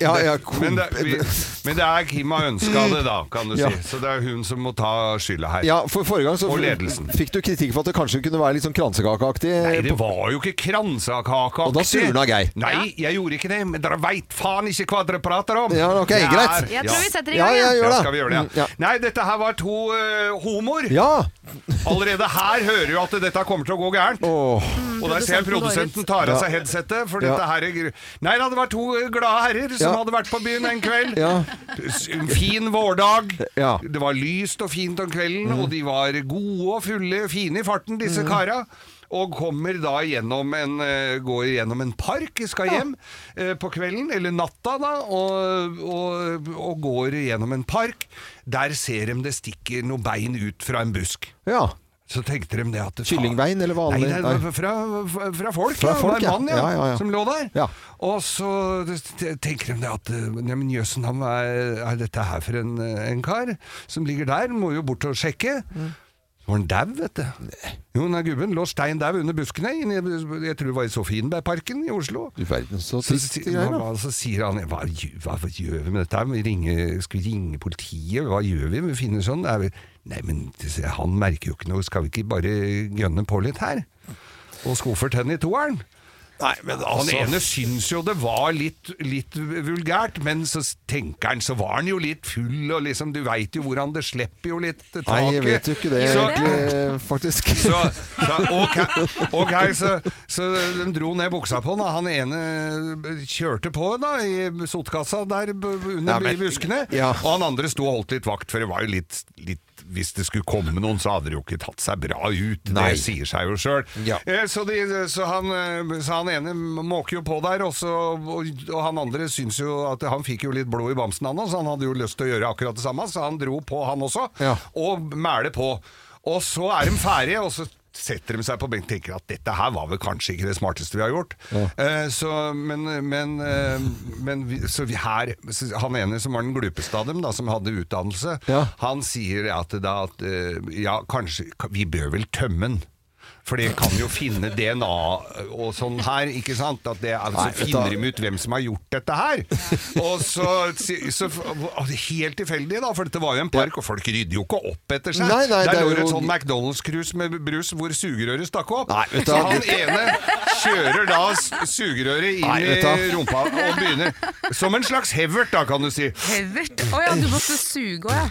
S2: men, det, vi, men det er Kim har ønska det, da, kan du
S1: Ja.
S2: si. Så det er hun som må ta skylda her.
S1: ja, for Forrige gang så
S2: Og ledelsen.
S1: fikk du kritikk for at det kanskje kunne være litt sånn kransekakeaktig.
S2: Nei, det
S1: på-
S2: var jo ikke kransekakeaktig.
S1: Og da surna Geir.
S2: Nei, jeg gjorde ikke det, men dere veit faen ikke hva dere prater om!
S1: Ja, ok, greit.
S2: Ja.
S1: Jeg tror vi setter i gang, Ja, ja, ja. gjør det.
S2: skal vi gjøre det,
S1: Mm,
S2: ja.
S1: ja.
S2: Nei, dette her var to eh, homoer. Allerede her hører du at dette kommer til å gå gærent. Og der ser jeg Mm,
S1: produsenten
S2: produsenten
S1: går ut.
S2: tar av
S1: Ja.
S2: seg headsetet, for
S1: Ja.
S2: dette her er gru- Nei da, det var to eh, glade herrer som
S1: Ja.
S2: hadde vært på byen en kveld.
S1: [LAUGHS] Ja.
S2: S- En fin vårdag.
S1: Ja.
S2: Det var lyst og fint om kvelden, og de var gode og fulle, fine i farten, disse
S1: Mm.
S2: kara. Og kommer da gjennom en, eh, går gjennom en park, skal hjem eh, på kvelden, eller natta da, og, og, og går gjennom en park. Der ser de det stikker noe bein ut fra en busk.
S1: Ja.
S2: Så tenkte de det at
S1: Kyllingbein eller vanlig?
S2: Nei, det er fra, fra, fra folk,
S1: Fra
S2: ja.
S1: folk,
S2: det var en mann
S1: ja.
S2: ja,
S1: Ja, ja, ja.
S2: som lå der.
S1: Ja.
S2: Og så t- tenker de det at Nei, men jøssen, han er, er dette her for en, eh, en kar som ligger der? Må jo bort og sjekke.
S1: Mm.
S2: Så var han dau, vet du. Jo, den der gubben lå stein dau under buskene. Inne, i- jeg tror det var i Sofienbergparken i Oslo.
S1: Du verden, så
S2: Så,
S1: trist
S2: si-
S1: greier. da.
S2: hva, så sier han hva, gjø- hva, hva gjør vi med dette? her? Vi ringer, skal vi ringe politiet? Hva gjør vi? Vi finner sånn er vi, Nei, men se, han merker jo ikke noe. Skal vi ikke bare gønne på litt her? Og skuffert henne i toeren.
S1: Nei, men
S2: Han
S1: altså-
S2: ene syns jo det var litt, litt vulgært, men så tenker han så var han jo litt full, og liksom du veit jo hvordan det slipper jo litt taket.
S1: Nei, jeg vet jo ikke det
S2: Så-
S1: egentlig, faktisk.
S2: så, så ok, ok, så, så de dro ned buksa på han, og han ene kjørte på da, i sotkassa der b- under
S1: Ja, men-
S2: i buskene,
S1: Ja.
S2: og han andre sto og holdt litt vakt, for det var jo litt, litt hvis det skulle komme noen, så hadde det jo ikke tatt seg bra ut.
S1: Nei.
S2: Det sier seg jo sjøl.
S1: Ja.
S2: Eh, Så, de- så, han, eh, så han ene måker jo på der, og, så, og, og han andre syns jo at han fikk jo litt blod i bamsen, han òg, så han hadde jo lyst til å gjøre akkurat det samme, så han dro på, han også
S1: Ja.
S2: og mæle på. Og så er de ferdige, og så setter de seg på benken og tenker at dette her var vel kanskje ikke det smarteste vi har gjort. Eh, så, men men, eh, men vi, så vi her så Han ene som var den glupeste av dem, da, som hadde utdannelse, han sier at, da, at eh, ja, kanskje ka- Vi bør vel tømme den. For de kan jo finne DNA og sånn her, ikke sant? At det, er- så
S1: Nei, vet du hva?
S2: finner de ut hvem som har gjort dette her. Og så, så Helt tilfeldig, da, for dette var jo en park, og folk rydder jo ikke opp etter seg.
S1: Nei, nei, det
S2: Der
S1: er
S2: lå det
S1: jo-
S2: et sånn McDonald's-krus med brus hvor sugerøret stakk opp.
S1: vet du
S2: så
S1: hva?
S2: han ene kjører da s- sugerøret inn
S1: Nei, vet du
S2: i
S1: hva?
S2: rumpa og begynner Som en slags hevert, da, kan du si.
S15: Hevert. Å ja, du måtte suge òg, ja.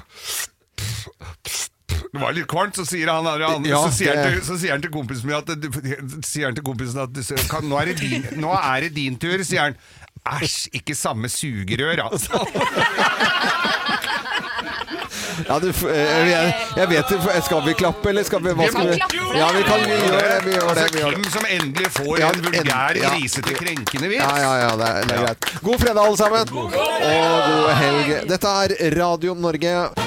S2: Det var litt kvalmt, så sier han, han
S1: Ja,
S2: så, sier han
S1: det-
S2: til, så sier han til kompisen min at, du- sier han til kompisen at du, kan, nå, er det din, nå er det din tur, sier han. Æsj, ikke samme sugerør,
S1: [LAUGHS]
S2: altså.
S1: Ja, du, f- eh, jeg, jeg vet ikke, Skal vi klappe, eller skal vi hva
S2: Vi
S1: skal
S2: må
S1: vi?
S2: klappe!
S1: Ja, vi kan vi gjør det. Vi gjør det,
S2: Altså,
S1: vi gjør
S2: Kim
S1: det.
S2: som endelig får
S1: Ja,
S2: en vulgær,
S1: en- ja.
S2: grisete, krenkende vits.
S1: Ja, ja, ja, det er, det er greit. God fredag, alle sammen. Og god helg. Dette er Radio Norge.